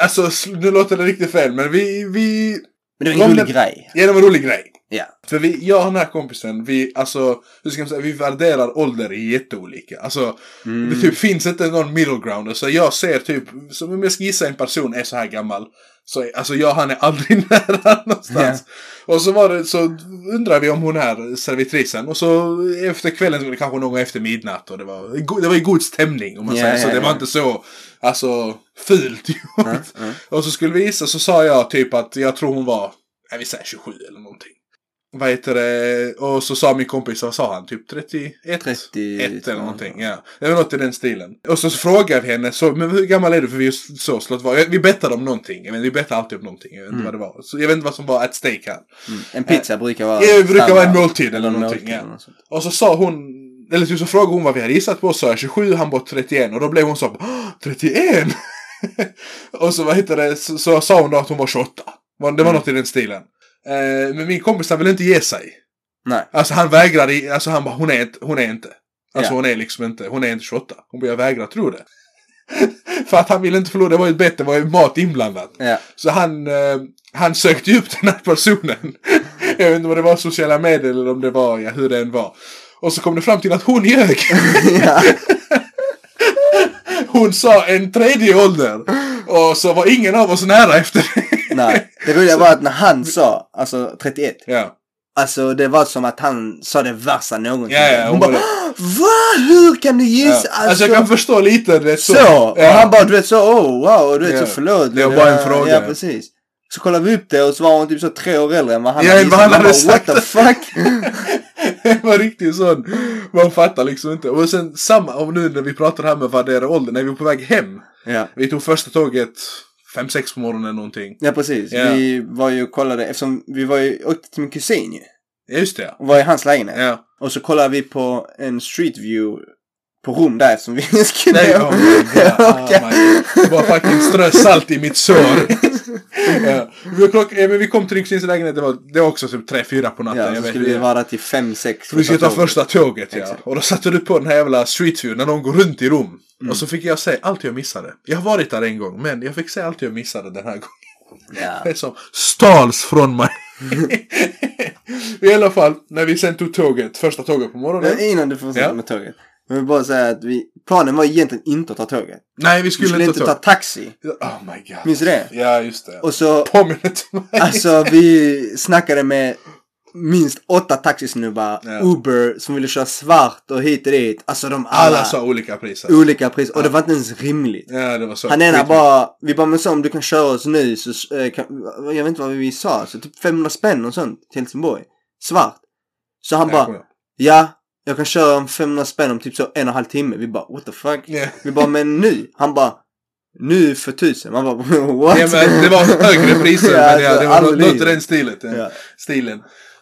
Alltså, sl- nu låter det riktigt fel, men vi... vi... Men det var en Om rolig det- grej. Ja, det var en rolig grej. Ja. För vi, jag och den här kompisen, vi, alltså, hur ska man säga, vi värderar ålder jätteolika. Alltså, Mm. det typ finns inte någon middle ground. Alltså, jag ser typ, som om jag ska gissa en person är så här gammal. Så, är- alltså, jag och han är aldrig nära någonstans. Och så var det, så undrar vi om hon är servitrisen. Och så efter kvällen, så var det kanske någon gång efter midnatt. Och det var, go- det var ju god stämning, om man Ja, säger så. ja, det var ja. inte så, alltså, fult gjort. Ja, ja. Och så skulle vi gissa så sa jag typ att jag tror hon var, nej vi säger 27 eller någonting. Vad heter det? Och så sa min kompis, vad sa han? Typ 31? 30 Ett eller någonting, ja. Det var något i den stilen. Och så frågade vi henne, så, men hur gammal är du? För vi just så slått var. Vi bettade om någonting. Jag vet, vi bettade alltid om någonting. Jag vet inte Mm. vad det var. Så jag vet inte vad som var at stake här. Mm. En pizza brukar vara... Det brukar vara en standard. måltid eller en någonting. måltid Ja. eller något sånt. Och så sa hon, eller typ så frågade hon vad vi hade gissat på, sa jag 27, han var 31 och då blev hon så här, "Åh, 31! och så vad heter det, så, så sa hon då att hon var 28. Var- Det var Mm. något i den stilen. Eh, men min kompis han ville inte ge sig. Nej. Alltså han vägrade, i- alltså han bara, hon är inte, hon är inte. Alltså Ja. hon är liksom inte, hon är inte 28. Hon bara, jag vägrar tro det. För att han ville inte förlora, det var ju ett bett, det var ju mat inblandat. Ja. Så han, eh, han sökte ju upp den här personen. Jag vet inte om det var sociala medier eller om det var, ja, hur det än var. Och så kom det fram till att hon ljög. ja. Hon sa en tredje ålder. Och så var ingen av oss nära efter det. Nej. Det roliga var att när han sa, alltså 31. Ja. Alltså det var som att han sa det värsta någonsin. Ja, ja, hon hon bara bara- Va? Hur kan du gissa? Ja. Alltså jag kan förstå lite det. så. Och Ja. han bara du vet så, oh wow, och du vet Ja. så förlåt. Det var bara en fråga. Ja, precis. Så kollade vi upp det och så var hon typ så tre år äldre än vad han Ja, hade vad han Man hade bara, What sagt. the fuck? Det var riktigt sån. Man fattar liksom inte. Och sen samma, om nu när vi pratar här med värdera ålder, när vi var på väg hem. ja. Vi tog första tåget fem sex på morgonen någonting. ja, precis. Ja. Vi var ju och kollade, eftersom vi var ju, åkte till min kusin ju. Ja, just det Och var i hans lägenhet. ja. ja. Och så kollade vi på en street view på Rom där som vi skulle Nej, oh my god. Oh my god. Det var fucking strö salt i mitt sår. ja. vi, klock, ja, men vi kom till din kusins lägenhet, det var, det var också typ tre fyra på natten. Ja, jag så vet skulle inte. vi vara där till fem sex För vi ska ta första tåget ja. Exakt. Och då satte du på den här jävla Street View när någon går runt i Rom. Och Mm. så fick jag se allt jag missade. Jag har varit där en gång men jag fick se allt jag missade den här gången. Ja. Det är som stals från mig. I alla fall, när vi sen tog tåget, första tåget på morgonen. Men Innan du fortsätter Ja. med tåget. Jag vill bara säga att vi, planen var egentligen inte att ta tåget. Nej, vi skulle, Vi skulle inte ta tåg. taxi. Oh my god. Minns du det? Ja, just det. Och så, Påminner till mig. alltså vi snackade med minst åtta taxisnubbar, Ja. Uber, som ville köra svart och hit och dit. Alltså de alla, Alla sa olika priser. olika pris. Och det var inte ens rimligt. Ja, det var så. Han ena Skit- bara, vi bara men så om du kan köra oss nu så, eh, kan, jag vet inte vad vi sa, så typ 500 spänn och sånt till Helsingborg. Svart. Så han Ja, kom bara, igen. ja, jag kan köra om 500 spänn om typ så en och en halv timme. Vi bara, what the fuck? Ja. Vi bara, men nu? Han bara, nu för tusen. Man bara, what? Ja, men det var högre priser, men ja, alltså, det var något- aldrig. något i den stilen. Ja. Ja. stilen.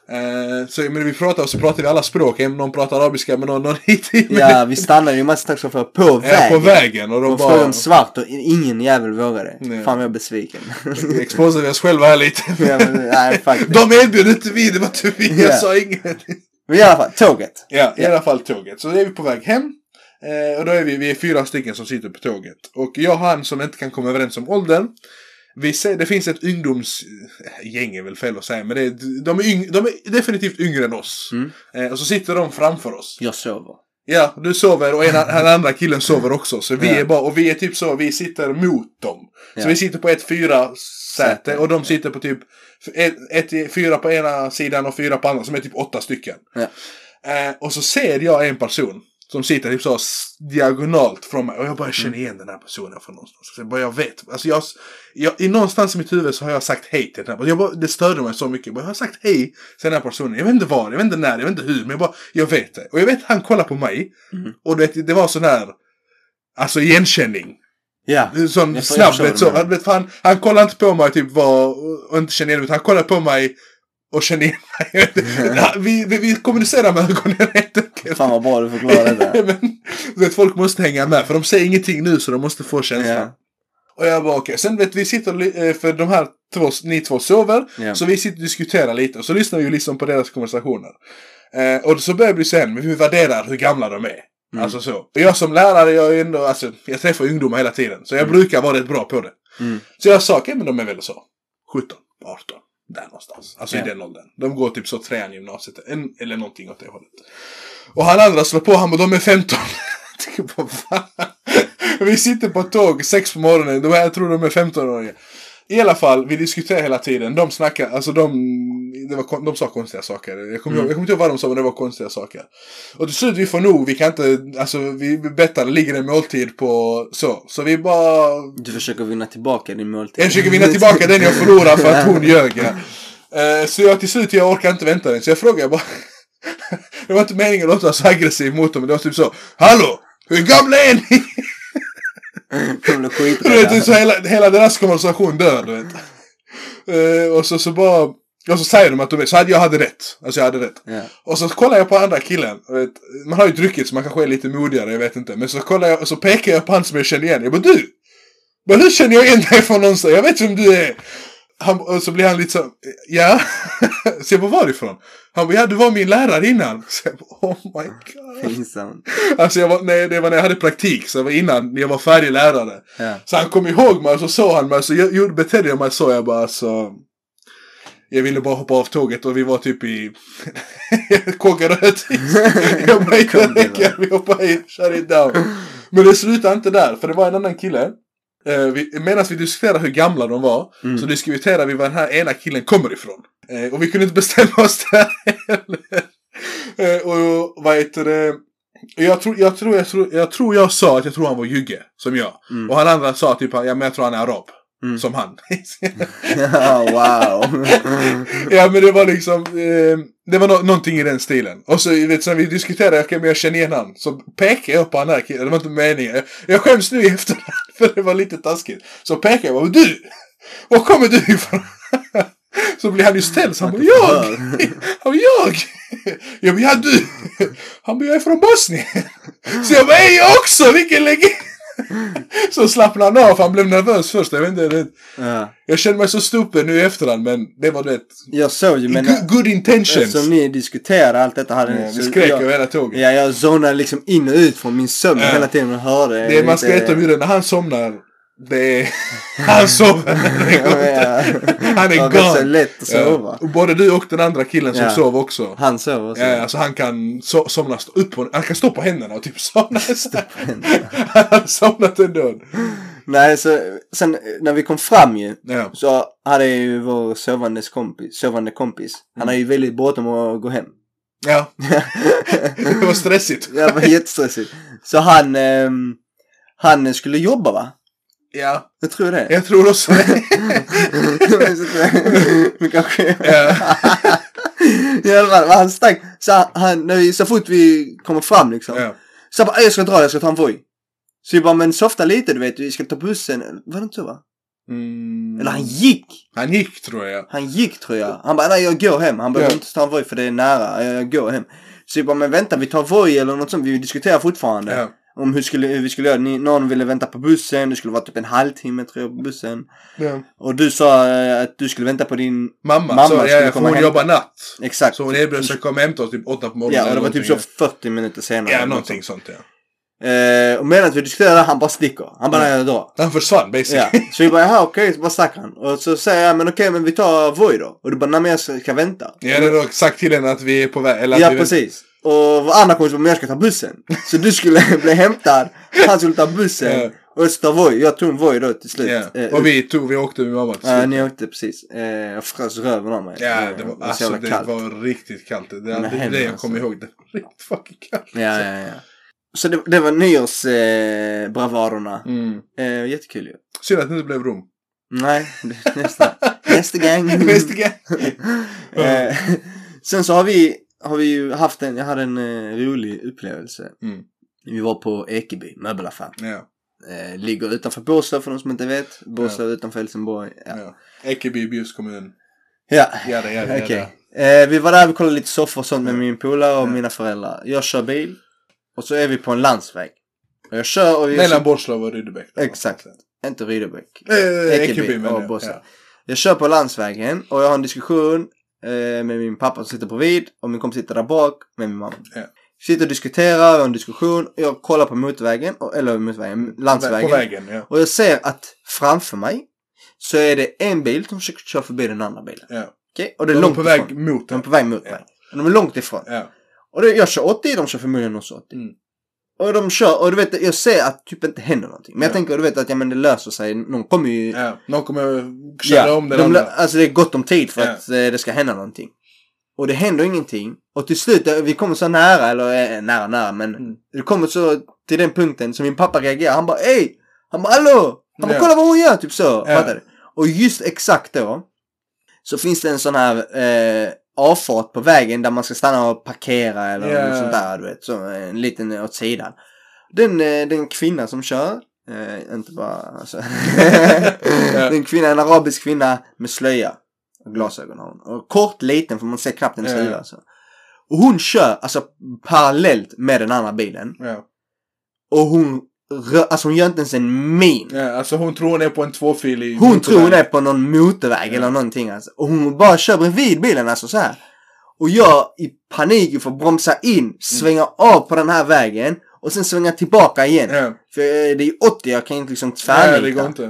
Eh, så men vi pratar och så pratar vi alla språk. En- Någon pratar arabiska men någon, någon hit. ja, vi stannade ju massa taxichaufförer på Ja, vägen. på vägen. Och de De frågade bara... om svart och ingen jävel vågade. Nej. Fan, jag är besviken. Exposade vi oss själva här lite. ja, men, nej, fuck det. de erbjöd inte vi, det var inte vi. Ja. Jag sa inget. Men i alla fall, tåget. Ja, i alla fall tåget. Så är vi på väg hem. Eh, och då är vi, vi är fyra stycken som sitter på tåget. Och jag och han som inte kan komma överens om åldern. Vi ser, det finns ett ungdomsgäng är väl fel att säga, men det är, de, är yng, de är definitivt yngre än oss. Mm. Eh, och så sitter de framför oss. Jag sover. Ja, du sover och en, den andra killen sover också. Så vi Ja. är bara, och vi är typ så, vi sitter mot dem. Så Ja. vi sitter på ett fyra säte Säte, och de sitter på typ ett, ett, fyra på ena sidan och fyra på andra, som är typ åtta stycken. Ja. Eh, och så ser jag en person som sitter typ så s- diagonalt från mig. Och jag bara Mm. känner igen den här personen från någonstans. Så jag bara, jag vet. Alltså jag, jag, i någonstans i mitt huvud så har jag sagt hej till den här personen. Jag bara, det störde mig så mycket. Jag, bara, jag har sagt hej till den här personen. Jag vet inte var, jag vet inte när, jag vet inte hur. Men jag bara, jag vet det. Och jag vet han kollar på mig. Mm. Och du vet, det var sån här, alltså igenkänning. Ja. Sån Jag får- jag snabb, förstår vet, så. vad du Han, vet, han, han kollade inte på mig typ var, och inte kände igen mig. utan Han kollade på mig och kände igen mig. Jag vet inte. vi, vi, vi kommunicerar med ögonen helt enkelt. Fan vad bra du förklarade det. Men, du vet, folk måste hänga med för de säger ingenting nu så de måste få känslan. Ja. Och jag bara okej, sen vet vi sitter och ly- eh, för de här två, ni två sover. Ja. Så vi sitter och diskuterar lite och så lyssnar vi ju liksom på deras konversationer. Eh, och så börjar vi sen, men vi värderar hur gamla de är. Mm. Alltså så. Och jag som lärare, jag, är ändå, alltså, jag träffar ungdomar hela tiden. Så jag brukar vara rätt bra på det. Mm. Så jag sa, okej men de är väl så. 17, 18. Där någonstans. Alltså Ja. i den åldern. De går typ så trean i gymnasiet. En, eller någonting åt det hållet. Och han andra slår på, han bara de är 15. Jag tänker bara, "Va?" Vi sitter på ett tåg sex på morgonen. De här, jag tror de är 15-åriga. I alla fall, vi diskuterar hela tiden. De snackar, alltså de, det var, kon- de sa konstiga saker. Jag kommer, ihåg- jag kommer inte ihåg vad de sa, men det var konstiga saker. Och till slut, vi får nog, vi kan inte, alltså vi vi bettar, det ligger en måltid på så. Så vi bara Du försöker vinna tillbaka din måltid. jag försöker vinna tillbaka den jag förlorar för att hon ljög. Ja. Eh, Så jag till slut, jag orkar inte vänta längre. Så jag frågar bara. Det var inte meningen att låta så aggressiv mot dem. Men det var typ så. Hallå! Hur gamla är ni? De blev Du vet, det är skiträdda. så hela, hela deras konversation dör. Du vet. Eh, Och så, så bara. Och så säger de att de är. Så hade jag hade rätt. Alltså jag hade rätt. Ja. Och så kollar jag på andra killen. du Vet, man har ju druckit så man kanske är lite modigare, jag vet inte. Men så kollar jag och så pekar jag på han som jag känner igen. Jag bara du! Men hur känner jag igen dig från någonstans? Jag vet vem du är! Han, och så blir han lite så, ja? så jag bara varifrån? Han bara ja du var min lärare innan. Så jag bara oh my god. Pinsamt. Alltså jag var, nej, det var när jag hade praktik, så det var innan jag var färdig lärare. Ja. Så han kom ihåg mig och så såg han mig så jag, gjorde- betedde jag mig så. Jag bara alltså. Jag ville bara hoppa av tåget och vi var typ i Kågeröd. jag bara Kom jag det, va? tänker vi hoppar in, shut it down. Men det slutade inte där för det var en annan kille. Eh, vi, medan vi diskuterade hur gamla de var Mm. så diskuterade vi var den här ena killen kommer ifrån. Eh, och vi kunde inte bestämma oss där heller. Eh, och vad heter det? Jag tror jag, tror, jag, tror, jag tror jag sa att jag tror han var jugge, som jag. Mm. Och han andra sa typ, ja men jag tror han är arab. Mm. Som han. Ja, wow. ja men det var liksom, eh, det var no- någonting i den stilen. Och så vet, sen vi diskuterade, okej men jag känner igen han. Så pekade jag på han här killen, det var inte meningen. Jag, jag skäms nu i efterhand för det var lite taskigt. Så pekade jag, bara, du! Var kommer du ifrån? så blev han ju ställd, så han bara, jag! Han bara, jag! Jag bara, ja du! Han bara, jag är från Bosnien! Så jag bara, är jag också! Vilken legend! Så slappnade han av, för han blev nervös först. Jag vet inte, det, Ja. jag känner mig så stupen nu i efterhand, men det var det. Jag såg ju men good, good intentions. eftersom ni diskuterade allt detta hade ni... Ja, så Vi skrek jag- över hela tåget. Ja, jag zonade liksom in och ut från min sömn Ja. hela tiden och hörde. det är, man ska lite- äta bjuden när han somnar. Det är... Han sover. Det går Ja, inte. Han ja, är det är så gone. lätt att sova. Ja, och både du och den andra killen som Ja. sov också. Han sover också. Ja, alltså han kan so- somna st- upp på, Han kan stå på händerna och typ somna. han hade somnat ändå. Nej, så sen eh, när vi kom fram ju. Ja. Så hade ju vår sovandes kompis, sovande kompis. Han Mm. hade ju väldigt bråttom att gå hem. ja. Det var stressigt. det var jättestressigt. Så han, ehm, han skulle jobba va? Ja. Jag tror det. Jag tror också det. Men kanske... Ja. I alla fall, han stack. Så, han, när vi, så fort vi kommer fram liksom. Ja. Så jag bara, "Ey, jag ska dra, jag ska ta en voj. Så jag bara, men softa lite du vet, vi ska ta bussen. Var det inte så va? Mm. Eller han gick. Han gick tror jag. Han gick tror jag. Han bara, nej jag går hem. Han behöver Ja. inte ta en voj för det är nära. Jag, jag går hem. Så jag bara, men vänta vi tar voj eller något sånt. Vi diskuterar fortfarande. Ja. Om hur, skulle, hur vi skulle göra. Ni, någon ville vänta på bussen. Det skulle vara typ en halvtimme tror jag på bussen. Ja. Och du sa eh, att du skulle vänta på din... Mamma, Mamma så, ja, skulle ja, för komma hon hem. jobbar natt. Exakt. Så hon erbjöd sig att komma och hämta oss typ åtta på morgonen. Ja, och det eller var typ så någonting. 40 minuter senare. Ja, någonting sånt ja. Eh, och medan vi diskuterade, han bara sticker. Han bara, Mm. nej jag drar. Han försvann basically. Ja. Så vi bara, jaha okej, så bara stack han. Och så säger jag, men okej, men vi tar Voi då. Och du bara, nej men jag ska, ska vänta. Jag hade dock sagt till henne att vi är på väg. Eller att Ja, vi precis. Och vår andra kompis bara, men jag ska ta bussen. Så du skulle bli hämtad, han skulle ta bussen. Ja. Och så tar Voi, jag tog en Voi då till slut. Ja. Eh, Och vi, tog, vi åkte med mamma till Ja, slut. ni åkte precis. Eh, jag frös röven av mig. Eh, Ja, det var, så alltså, jävla det kallt. var riktigt kallt. Det är Men alltså. aldrig det helvete, jag kommer ihåg. Det var riktigt fucking kallt. Ja, ja, ja. Så det, det var nyårsbravarerna. Eh, bravaderna. Mm. eh, jättekul ju. Synd att det inte blev Rom. Nej, det- nästa. nästa gång. Nästa gång. eh, sen så har vi, har vi ju haft en, jag hade en eh, rolig upplevelse. Mm. Vi var på Ekeby möbelaffär. Ja, Eh, ligger utanför Båstad för de som inte vet. Båstad utanför Helsingborg. Ja. ja. Ekeby, Bjuvs kommun. ja. Ja, det är Okej. Eh, vi var där, vi kollade lite soffor och sånt med Ja. min polare och Ja. mina föräldrar. Jag kör bil. Och så är vi på en landsväg. Och jag kör och... jag Mellan Borslöv och Rydebäck. där Exakt. någonstans. Inte Rydebäck. Eh, Ekeby Ekeby och menar jag. Båstad. Ja. Jag kör på landsvägen och jag har en diskussion eh, med min pappa som sitter bredvid och min kompis sitter där bak med min mamma. Ja. Sitter och diskuterar, vi har en diskussion. Jag kollar på motorvägen, och- eller motorvägen, landsvägen. På vägen, ja. Och jag ser att framför mig så är det en bil som försöker köra förbi den andra bilen. ja. Okej? Och det De är är långt på väg ifrån. mot De är den. på väg mot Ja. mig. Och de är långt ifrån. Ja. Och det, jag kör 80, de kör förmodligen också 80. Mm. Och de kör, och du vet, jag ser att typ inte händer någonting. Men jag Ja. tänker, du vet att ja, men det löser sig. Någon kommer ju Ja, någon kommer köra om den de andra. lö- Alltså det är gott om tid för Ja. att eh, det ska hända någonting. Och det händer ingenting. Och till slut, eh, vi kommer så nära, eller eh, nära nära, men Mm. det kommer så till den punkten som min pappa reagerar. Han bara ey! Han bara hallå! Han bara Ja. kolla vad hon gör! Typ så. Ja. Fattar du? Och just exakt då så finns det en sån här eh, avfart på vägen där man ska stanna och parkera eller Ja. något sånt där. Du vet, så eh, en liten åt sidan. Den, eh, den kvinna som kör, eh, inte bara alltså. en kvinna, en arabisk kvinna med slöja. Och glasögon har hon. Och kort, liten, för man ser knappt hennes Ja. huvud alltså. Och hon kör, alltså parallellt med den andra bilen. Ja. Och hon, rö- alltså hon gör inte ens en min. ja, alltså hon tror hon är på en tvåfilig Hon motorväg. tror hon är på någon motorväg Ja. eller någonting alltså. Och hon bara kör bredvid bilen alltså så här. Och jag i panik får bromsa Mm. in, svänga av på den här vägen och sen svänga tillbaka igen. Ja. För eh, det är ju 80, jag kan ju inte liksom Nej, det tvärnita. går inte.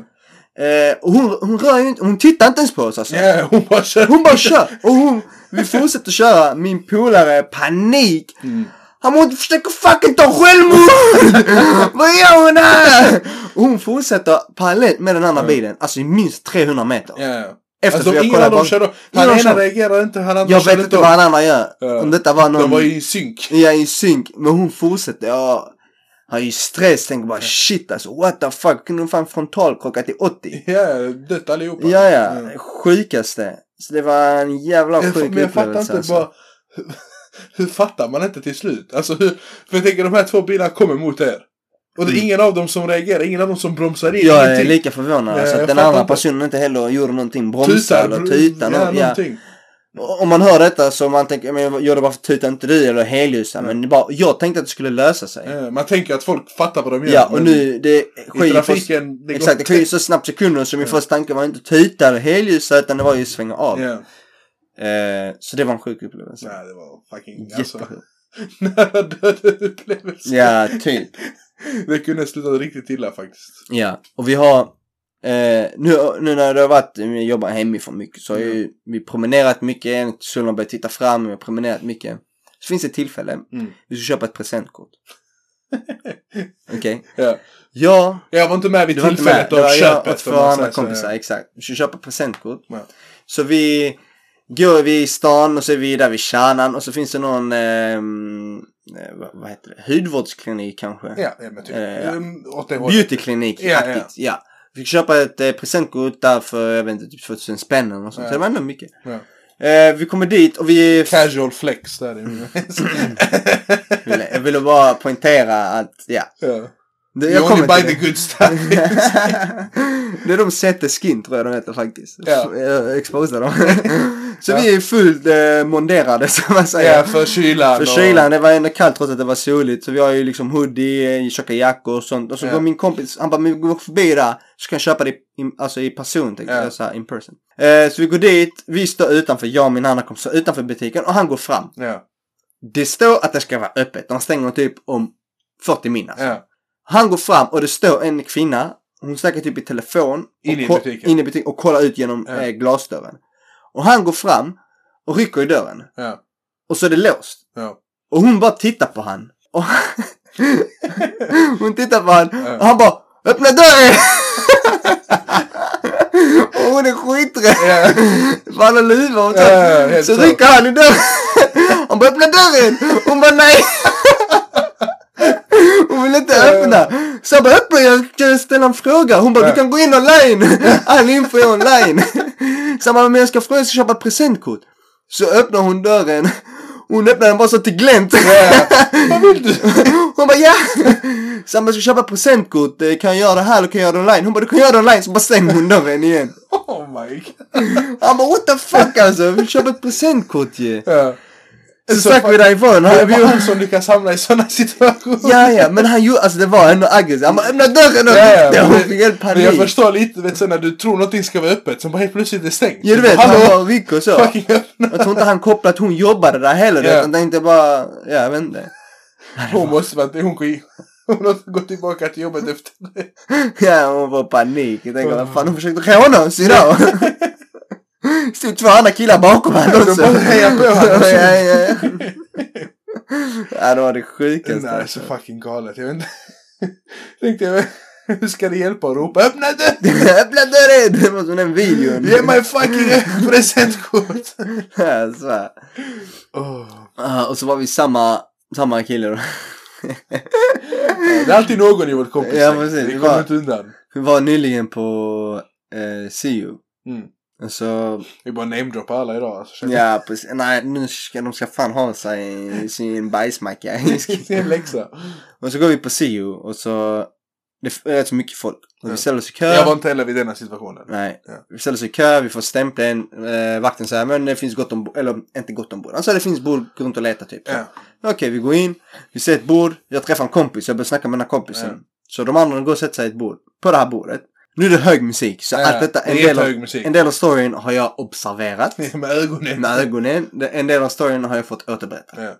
eh, och hon, hon rör ju inte, hon tittar inte ens på oss alltså. Ja, hon bara kör. Hon bara kör! Och hon, vi fortsätter köra, min polare, panik. Mm. Han måste försöka fucking ta självmord! Vad gör hon här? Och hon fortsätter parallellt med den andra Mm. bilen. Alltså i minst 300 meter. Ja, ja. Efter Alltså, att de, jag ingen av kollade dem bara. körde ingen Han av dem ena körde. reagerar inte, han andra Jag vet körde inte inte vad om. han andra gör. Ja. Om detta var någon... De var i synk. Jag är i synk, men hon fortsätter. Jag har ju stress, tänker bara shit alltså. What the fuck, kunde hon fan frontalkrocka till 80? Ja, ja, dött allihopa. Ja, ja. Ja. Sjukaste. Så det var en jävla Mm. Jag, sjuk men jag fattar upplevelse inte alltså. bara. Hur, hur fattar man inte till slut? Alltså hur. För jag tänker de här två bilarna kommer mot er. Och det är Mm. ingen av dem som reagerar, ingen av dem som bromsar in. Jag är ingenting. lika förvånad Ja, alltså, jag att den fattar andra inte. personen inte heller gjorde någonting. Bromsa eller br- tuta. ja, någon- ja. någonting. Om man hör detta så man tänker, men gör det bara för tuta inte du eller helljusa. Mm. Men det bara, jag tänkte att det skulle lösa sig. Ja, man tänker att folk fattar vad de gör. Ja, och men nu det sker I ju på- trafiken. Det Exakt, det sker ju så snabbt sekunder så min Ja. första tanke var inte tuta eller helljusa utan det var ju svänga av. Ja. Eh, så det var en sjuk upplevelse. Nej, det var fucking alltså, Jättesjuk. nära döden upplevelse. Ja, typ. Det kunde sluta riktigt illa faktiskt. Ja, och vi har eh, nu, nu när det har varit, vi jobbar hemifrån mycket så har Mm. ju vi promenerat mycket, solen har börjat titta fram, vi har promenerat mycket. Så finns det ett tillfälle, Mm. vi ska köpa ett presentkort. Okej? Ja. Jag Jag var inte med vid Du var inte med. tillfället Det av var jag och köpet. två om man andra säger så, ja. kompisar, exakt. Vi skulle köpa presentkort. Ja. Så vi går vi i stan och så är vi där vid kärnan och så finns det någon, ehm, eh, vad, vad heter det, hudvårdsklinik kanske? Ja, ja men typ. Eh, ja. Mm, Åt det hållet. Beautyklinik, Ja, ja. aktigt, ja. Vi fick köpa ett eh, presentkort där för, jag vet inte, typ 2000 spänn eller något sånt. Ja. Så det var ändå mycket. Ja. Eh, vi kommer dit och vi... Casual flex där Mm. inne. Ville- Jag ville bara poängtera att, ja. ja. Det, You only till buy the det. good stuff. det är de sätter skin tror jag de heter faktiskt. eh, Ja. Jag exposar dem. så Ja. vi är fullt eh, monderade som man säger. ja, för kylan. För kylan, det var ändå kallt trots att det var soligt. Så vi har ju liksom hoodie, eh, tjocka jackor och sånt. Och så Ja. går min kompis, han bara, men gå förbi där. Så kan jag köpa det i, alltså i person, tänkte Ja. jag så här, in person. Eh, så vi går dit, vi står utanför, jag och min andra kompis står utanför butiken och han går fram. Och, ja, Det står att det ska vara öppet, de stänger typ om 40 min alltså. ja. Han går fram och det står en kvinna, hon snackar typ i telefon. In i och ko- butiken. In i butiken och kollar ut genom Ja. eh, glasdörren. Och han går fram och rycker i dörren. ja, Och så är det låst. ja. Och hon bara tittar på han. Och hon tittar på han och han bara Öppna dörren! och hon är skiträdd. Ja. För han har luva och så. Ja, helt så klart. rycker han i dörren. Han bara öppna dörren! Hon bara nej! Hon vill inte öppna. Så jag bara öppna, jag kan ställa en fråga. Hon bara Ja. du kan gå in online. All info är online. Så jag bara men jag ska fråga, jag ska köpa ett presentkort. Så öppnar hon dörren. Hon öppnar den bara så till glänt. Vad vill du? Hon bara ja! Så han bara, ska jag köpa ett presentkort? Eh, Kan jag göra det här eller kan jag göra det online? Hon bara, du kan göra det online! Så bara stänger hon dörren igen. Oh my god. Han bara, what the fuck alltså! Vi köper ett presentkort ju! Ja. Så stack vi därifrån. Det Han, var vi, han som lyckas hamna i sådana situationer. ja, ja, men han gjorde, alltså det var ändå aggressivt. Han bara, öppna dörren! Och, Ja, ja, hon men- fick helt Men jag panik. förstår lite, vet du, när du tror någonting ska vara öppet, som bara helt plötsligt är stängt. Ja, du vet, han Hallå! bara rycker och så. Fucking öppna! Jag tror inte han kopplade att hon jobbade där heller. Ja. Yeah. Utan tänkte bara, ja, jag vet inte. Hon måste vara, hon går i- Hon har gått tillbaka till jobbet efter det. Ja, hon var i panik. Jag tänker, vad fan, hon försökte råna oss idag. Stod två andra killar bakom henne De också. bara hejar på ja, honom. ja, ja. ja, det var det sjukaste. Nej, så fucking galet. Jag vet inte. Tänkte jag, hur ska det hjälpa att ropa öppna dörren? Öppna dörren! Det var som den videon. Ge mig fucking presentkort! Ja, så här. Åh. Ah, och så var vi samma, samma kille då. Det är alltid någon i vårt kompisgäng. Ja, precis. Vi Det var- kommer inte undan. Vi var nyligen på eh, CU. Mm. Och Så, Vi bara namedroppar alla idag. Alltså, känner- ja precis. Nej, nu ska de ska fan ha sig sin bajsmacka. Det är en läxa. Och så går vi på SIO och så... Det är rätt så mycket folk. Och vi Ja. ställer oss i kö. Jag var inte heller vid denna situationen. Nej. Ja. Vi ställer oss i kö, vi får stämpeln. Eh, vakten säger men det finns gott om bord. Eller inte gott om bord. Han sa det finns bord, gå runt och leta typ. Ja. Okej, vi går in. Vi ser ett bord. Jag träffar en kompis. Jag börjar snacka med den här kompisen. Ja. Så de andra går och sätter sig i ett bord. På det här bordet. Nu är det hög musik. Så Ja, allt detta, en det är del, av, hög musik. en del av storyn har jag observerat. Med ögonen. med ögonen. En del av storyn har jag fått återberättad. Ja.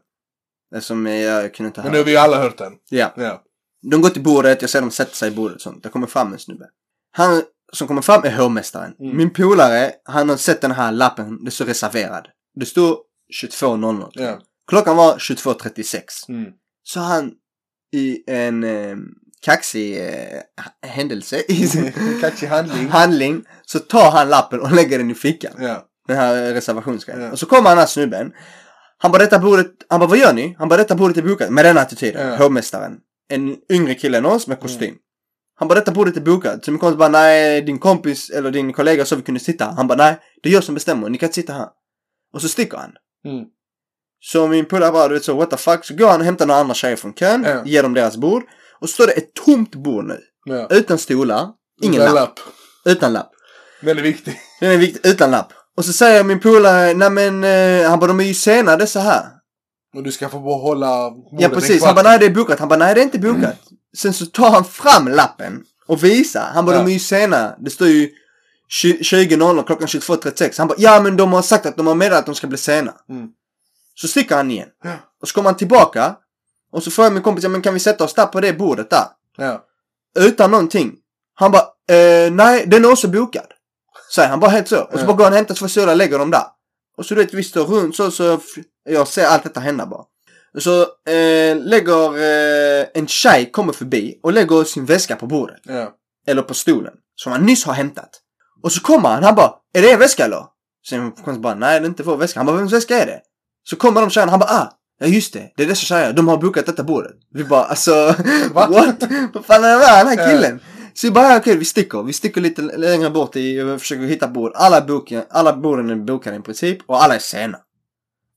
Eftersom jag kunde inte höra. Men nu har vi ju alla hört den. Ja. Ja. De går till bordet, jag ser dem sätta sig i bordet och sånt. Det kommer fram en snubbe. Han som kommer fram är hovmästaren. Mm. Min polare, han har sett den här lappen. Det står reserverad. Det står 22.00. Ja. Klockan var 22.36. Mm. Så han i en eh, kaxig eh, händelse, i sin Kaxig Mm. handling. handling, så tar han lappen och lägger den i fickan. Ja. Den här reservationsgrejen. Ja. Och så kommer han här snubben. Han bara detta bordet, han bara vad gör ni? Han bara detta bordet är bokat. Med den attityden. Ja. Hovmästaren. En yngre kille än oss med kostym. Han bara detta bordet är bokat. Så min kompis bara nej din kompis eller din kollega sa vi kunde sitta här. Han bara nej det är jag som bestämmer. Ni kan inte sitta här. Och så sticker han. Mm. Så min polare bara du vet så what the fuck. Så går han och hämtar några andra tjejer från kön. Ja. Ger dem deras bord. Och så står det ett tomt bord nu. Ja. Utan stolar. Ingen Utan lapp. Utan lapp. Väldigt viktig. Den är viktig, utan lapp. Och så säger min polare, nej men, eh, han bara de är ju sena dessa här. Och du ska få behålla bordet Ja en precis, kvart. Mm. han bara nej det är bokat, han bara nej det är inte bokat. Sen så tar han fram lappen och visar, han bara Ja. de är ju sena, det står ju 20 20.00 klockan 22.36. Han bara ja men de har sagt att de har meddelat att de ska bli sena. Mm. Så sticker han igen. Ja. Och så kommer han tillbaka. Och så frågar min kompis, ja men kan vi sätta oss där på det bordet där? Ja. Utan någonting. Han bara, eh, nej den är också bokad. Säger han bara helt så. Och så Ja. bara går han och hämtar två stolar och lägger dem där. Och så du vet vi står runt så, så f- jag ser allt detta hända bara. Och så eh, lägger eh, en tjej kommer förbi och lägger sin väska på bordet. Ja. Eller på stolen. Som han nyss har hämtat. Och så kommer han, han bara, är det er väska eller? Så min kompis bara, nej det är inte vår väska. Han bara, vems väska är det? Så kommer de tjejerna, han bara, ah, ja just det, det är dessa tjejer, de har bokat detta bordet. Vi bara, alltså, Va? Eh. what? Vad fan är det här, den här killen? Så vi bara, ja, okej vi sticker, vi sticker lite längre bort i, och försöker hitta bord. Alla, boken, alla borden är bokade i princip och alla är sena.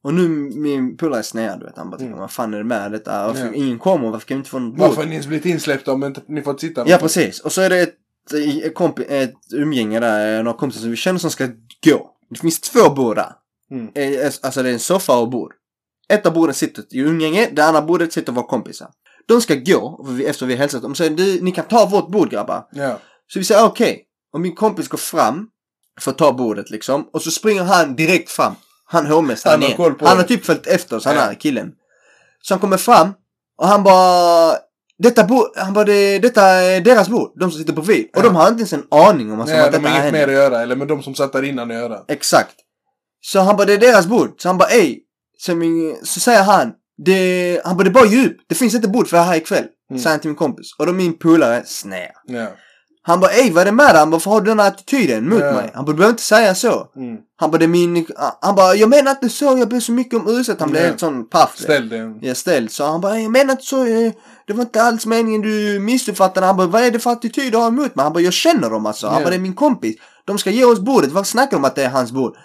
Och nu min polare är sned, du vet. Han bara, Mm. vad fan är det med detta? Varför Ja. ingen kommer? Varför kan vi inte få något bord? Varför har ni ens blivit insläppta om inte ni fått sitta? Ja precis, och så är det ett, eh, kompi- ett umgänge där, eh, några kompisar som vi känner som ska gå. Det finns två bord där. Mm. Eh, eh, Alltså det är en soffa och bord. Ett av borden sitter i umgänge, det andra bordet sitter våra kompisar. De ska gå, för vi- efter vi har hälsat dem, säger du, ni kan ta vårt bord grabbar. Ja. Så vi säger "Ah, okej. Och min kompis går fram för att ta bordet liksom. Och så springer han direkt fram. Han hovmästaren Han har igen. koll på Han det. har typ följt efter oss, han Ja. här killen. Så han kommer fram och han bara... Detta bord, han bara det, detta är deras bord. De som sitter bredvid. Och Ja. de har inte ens en aning om vad som Nej, att de detta har inget händer. mer att göra. Eller med de som satt där innan att göra. Exakt. Så han bara, det är deras bord. Så han bara, ey. Så, min, så säger han, det, han bara, det är bara djup. Det finns inte bord för här ikväll. Mm. Säger han till min kompis. Och då min polare, snälla. Ja. Han bara ey vad är det med dig? Han bara varför har du den här attityden mot Ja. mig? Han bara du behöver inte säga så. Mm. Han bara det är min... Han bara jag menar inte så, jag ber så mycket om ursäkt. Han blev Ja. helt sån paff. Ställ dig. Ja ställd. Så han bara jag menar inte så, eh, det var inte alls meningen du missuppfattade. Han bara vad är det för attityd du har emot mig? Han bara jag känner dem alltså. Han Ja. bara det är min kompis. De ska ge oss bordet, varför snackar de om att det är hans bord?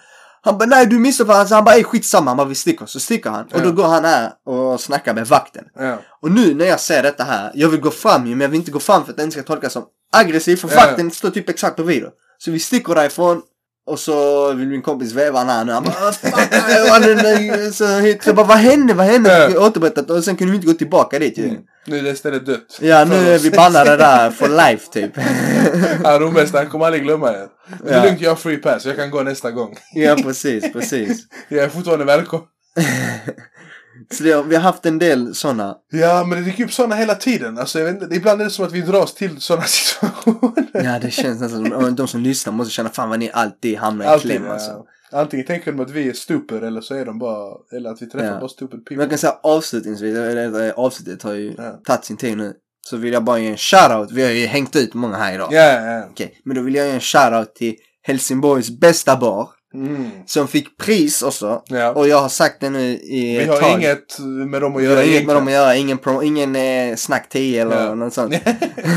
Han bara nej du missuppfattade. Så han bara ey skitsamma. Han bara vi sticker. Så sticker han. Och Ja. då går han här och snackar med vakten. Ja. Och nu när jag ser detta här, jag vill gå fram ju, men jag vill inte gå fram för att den ska tolkas som aggressiv, för Ja. vakten står typ exakt bredvid då. Så vi sticker därifrån, och så vill min kompis veva han här nu, han bara "Vad fan, nej, vad är det nu?" så, hit. så jag bara vad hände, vad hände? Ja. Fick jag återberättat och sen kunde vi inte gå tillbaka dit ju. Mm. Nu är det stället dött. Ja nu är vi bannade där for life typ. Ja, Rommästaren kommer aldrig glömma er. Det Ja. är lugnt, jag har free pass. Jag kan gå nästa gång. ja precis, precis. Jag är fortfarande välkommen. Så det, vi har haft en del sådana. Ja, men det dyker upp sådana hela tiden. Alltså, jag vet inte, ibland är det som att vi dras till sådana situationer. Ja det känns nästan som, de som lyssnar måste känna fan vad ni alltid hamnar i Alltid. kläm alltså. Ja. Antingen tänker de att vi är stupor eller så är de bara... Eller att vi träffar Ja. bara stupid people. Men jag kan säga avslutningsvis, eller, eh, avsnittet har ju Ja. tagit sin tid nu. Så vill jag bara ge en shoutout, vi har ju hängt ut många här idag. Ja, ja, ja. Okej, men då vill jag ge en shoutout till Helsingborgs bästa bar. Mm. Som fick pris också. ja. Och jag har sagt det nu i Vi ett har tag. inget med dem att Vi har göra inget med dem att egentligen. göra, ingen, pro, ingen eh, snack 10 eller Ja. något sånt.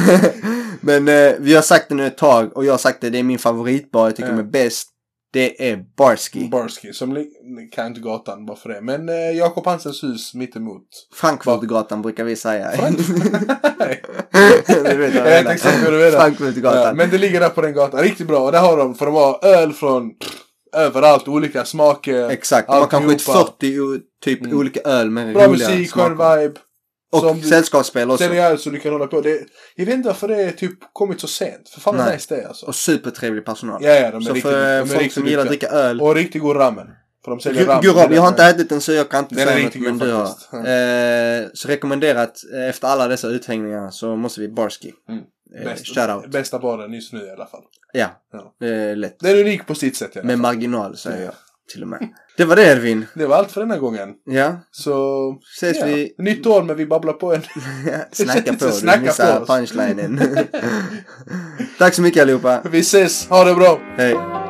men eh, vi har sagt det nu ett tag och jag har sagt det, det är min favoritbar, jag tycker Ja. de är bäst. Det är Barski. Barsky, som li- kan inte gatan bara för det. Men eh, Jakob Hansens hus mittemot. Frankfurtgatan brukar vi säga. Du vet vad jag vet exakt vad du menar. Frankfurtgatan. Ja, men det ligger där på den gatan. Riktigt bra. Och där har de, för de har öl från pff, överallt, olika smaker. Exakt, de har kanske ett Alltihopa. 40 o- typ Mm. olika öl med bra roliga musik, smaker. skön vibe. Och som du- sällskapsspel också. Säljer öl så du kan hålla på. Det, jag vet inte varför det är typ kommit så sent. För fan vad Nej. nice det är alltså. Och supertrevlig personal. Ja, ja, de är så riktigt, de för är folk riktigt som gillar att duktiga. dricka öl. Och riktigt god ramen. För de säljer ramen. Gurab, jag har inte ätit den så jag kan inte Den är säga något. riktigt Men god du har. faktiskt. Ja. Eh, så rekommenderat, eh, efter alla dessa uthängningar så måste vi Barski. Mm. Eh, Bäst- shoutout. Bästa baren just nu i alla fall. Ja, Ja. det är lätt. Den är unik på sitt sätt i alla Med fall. marginal säger jag. till och med. Det var det Edvin. Det var allt för denna gången. Ja, Så... ses ja. vi. Nytt år men vi babblar på en. Snacka på, Snacka du på missar oss. punchlinen. Tack så mycket allihopa. Vi ses, ha det bra! Hej.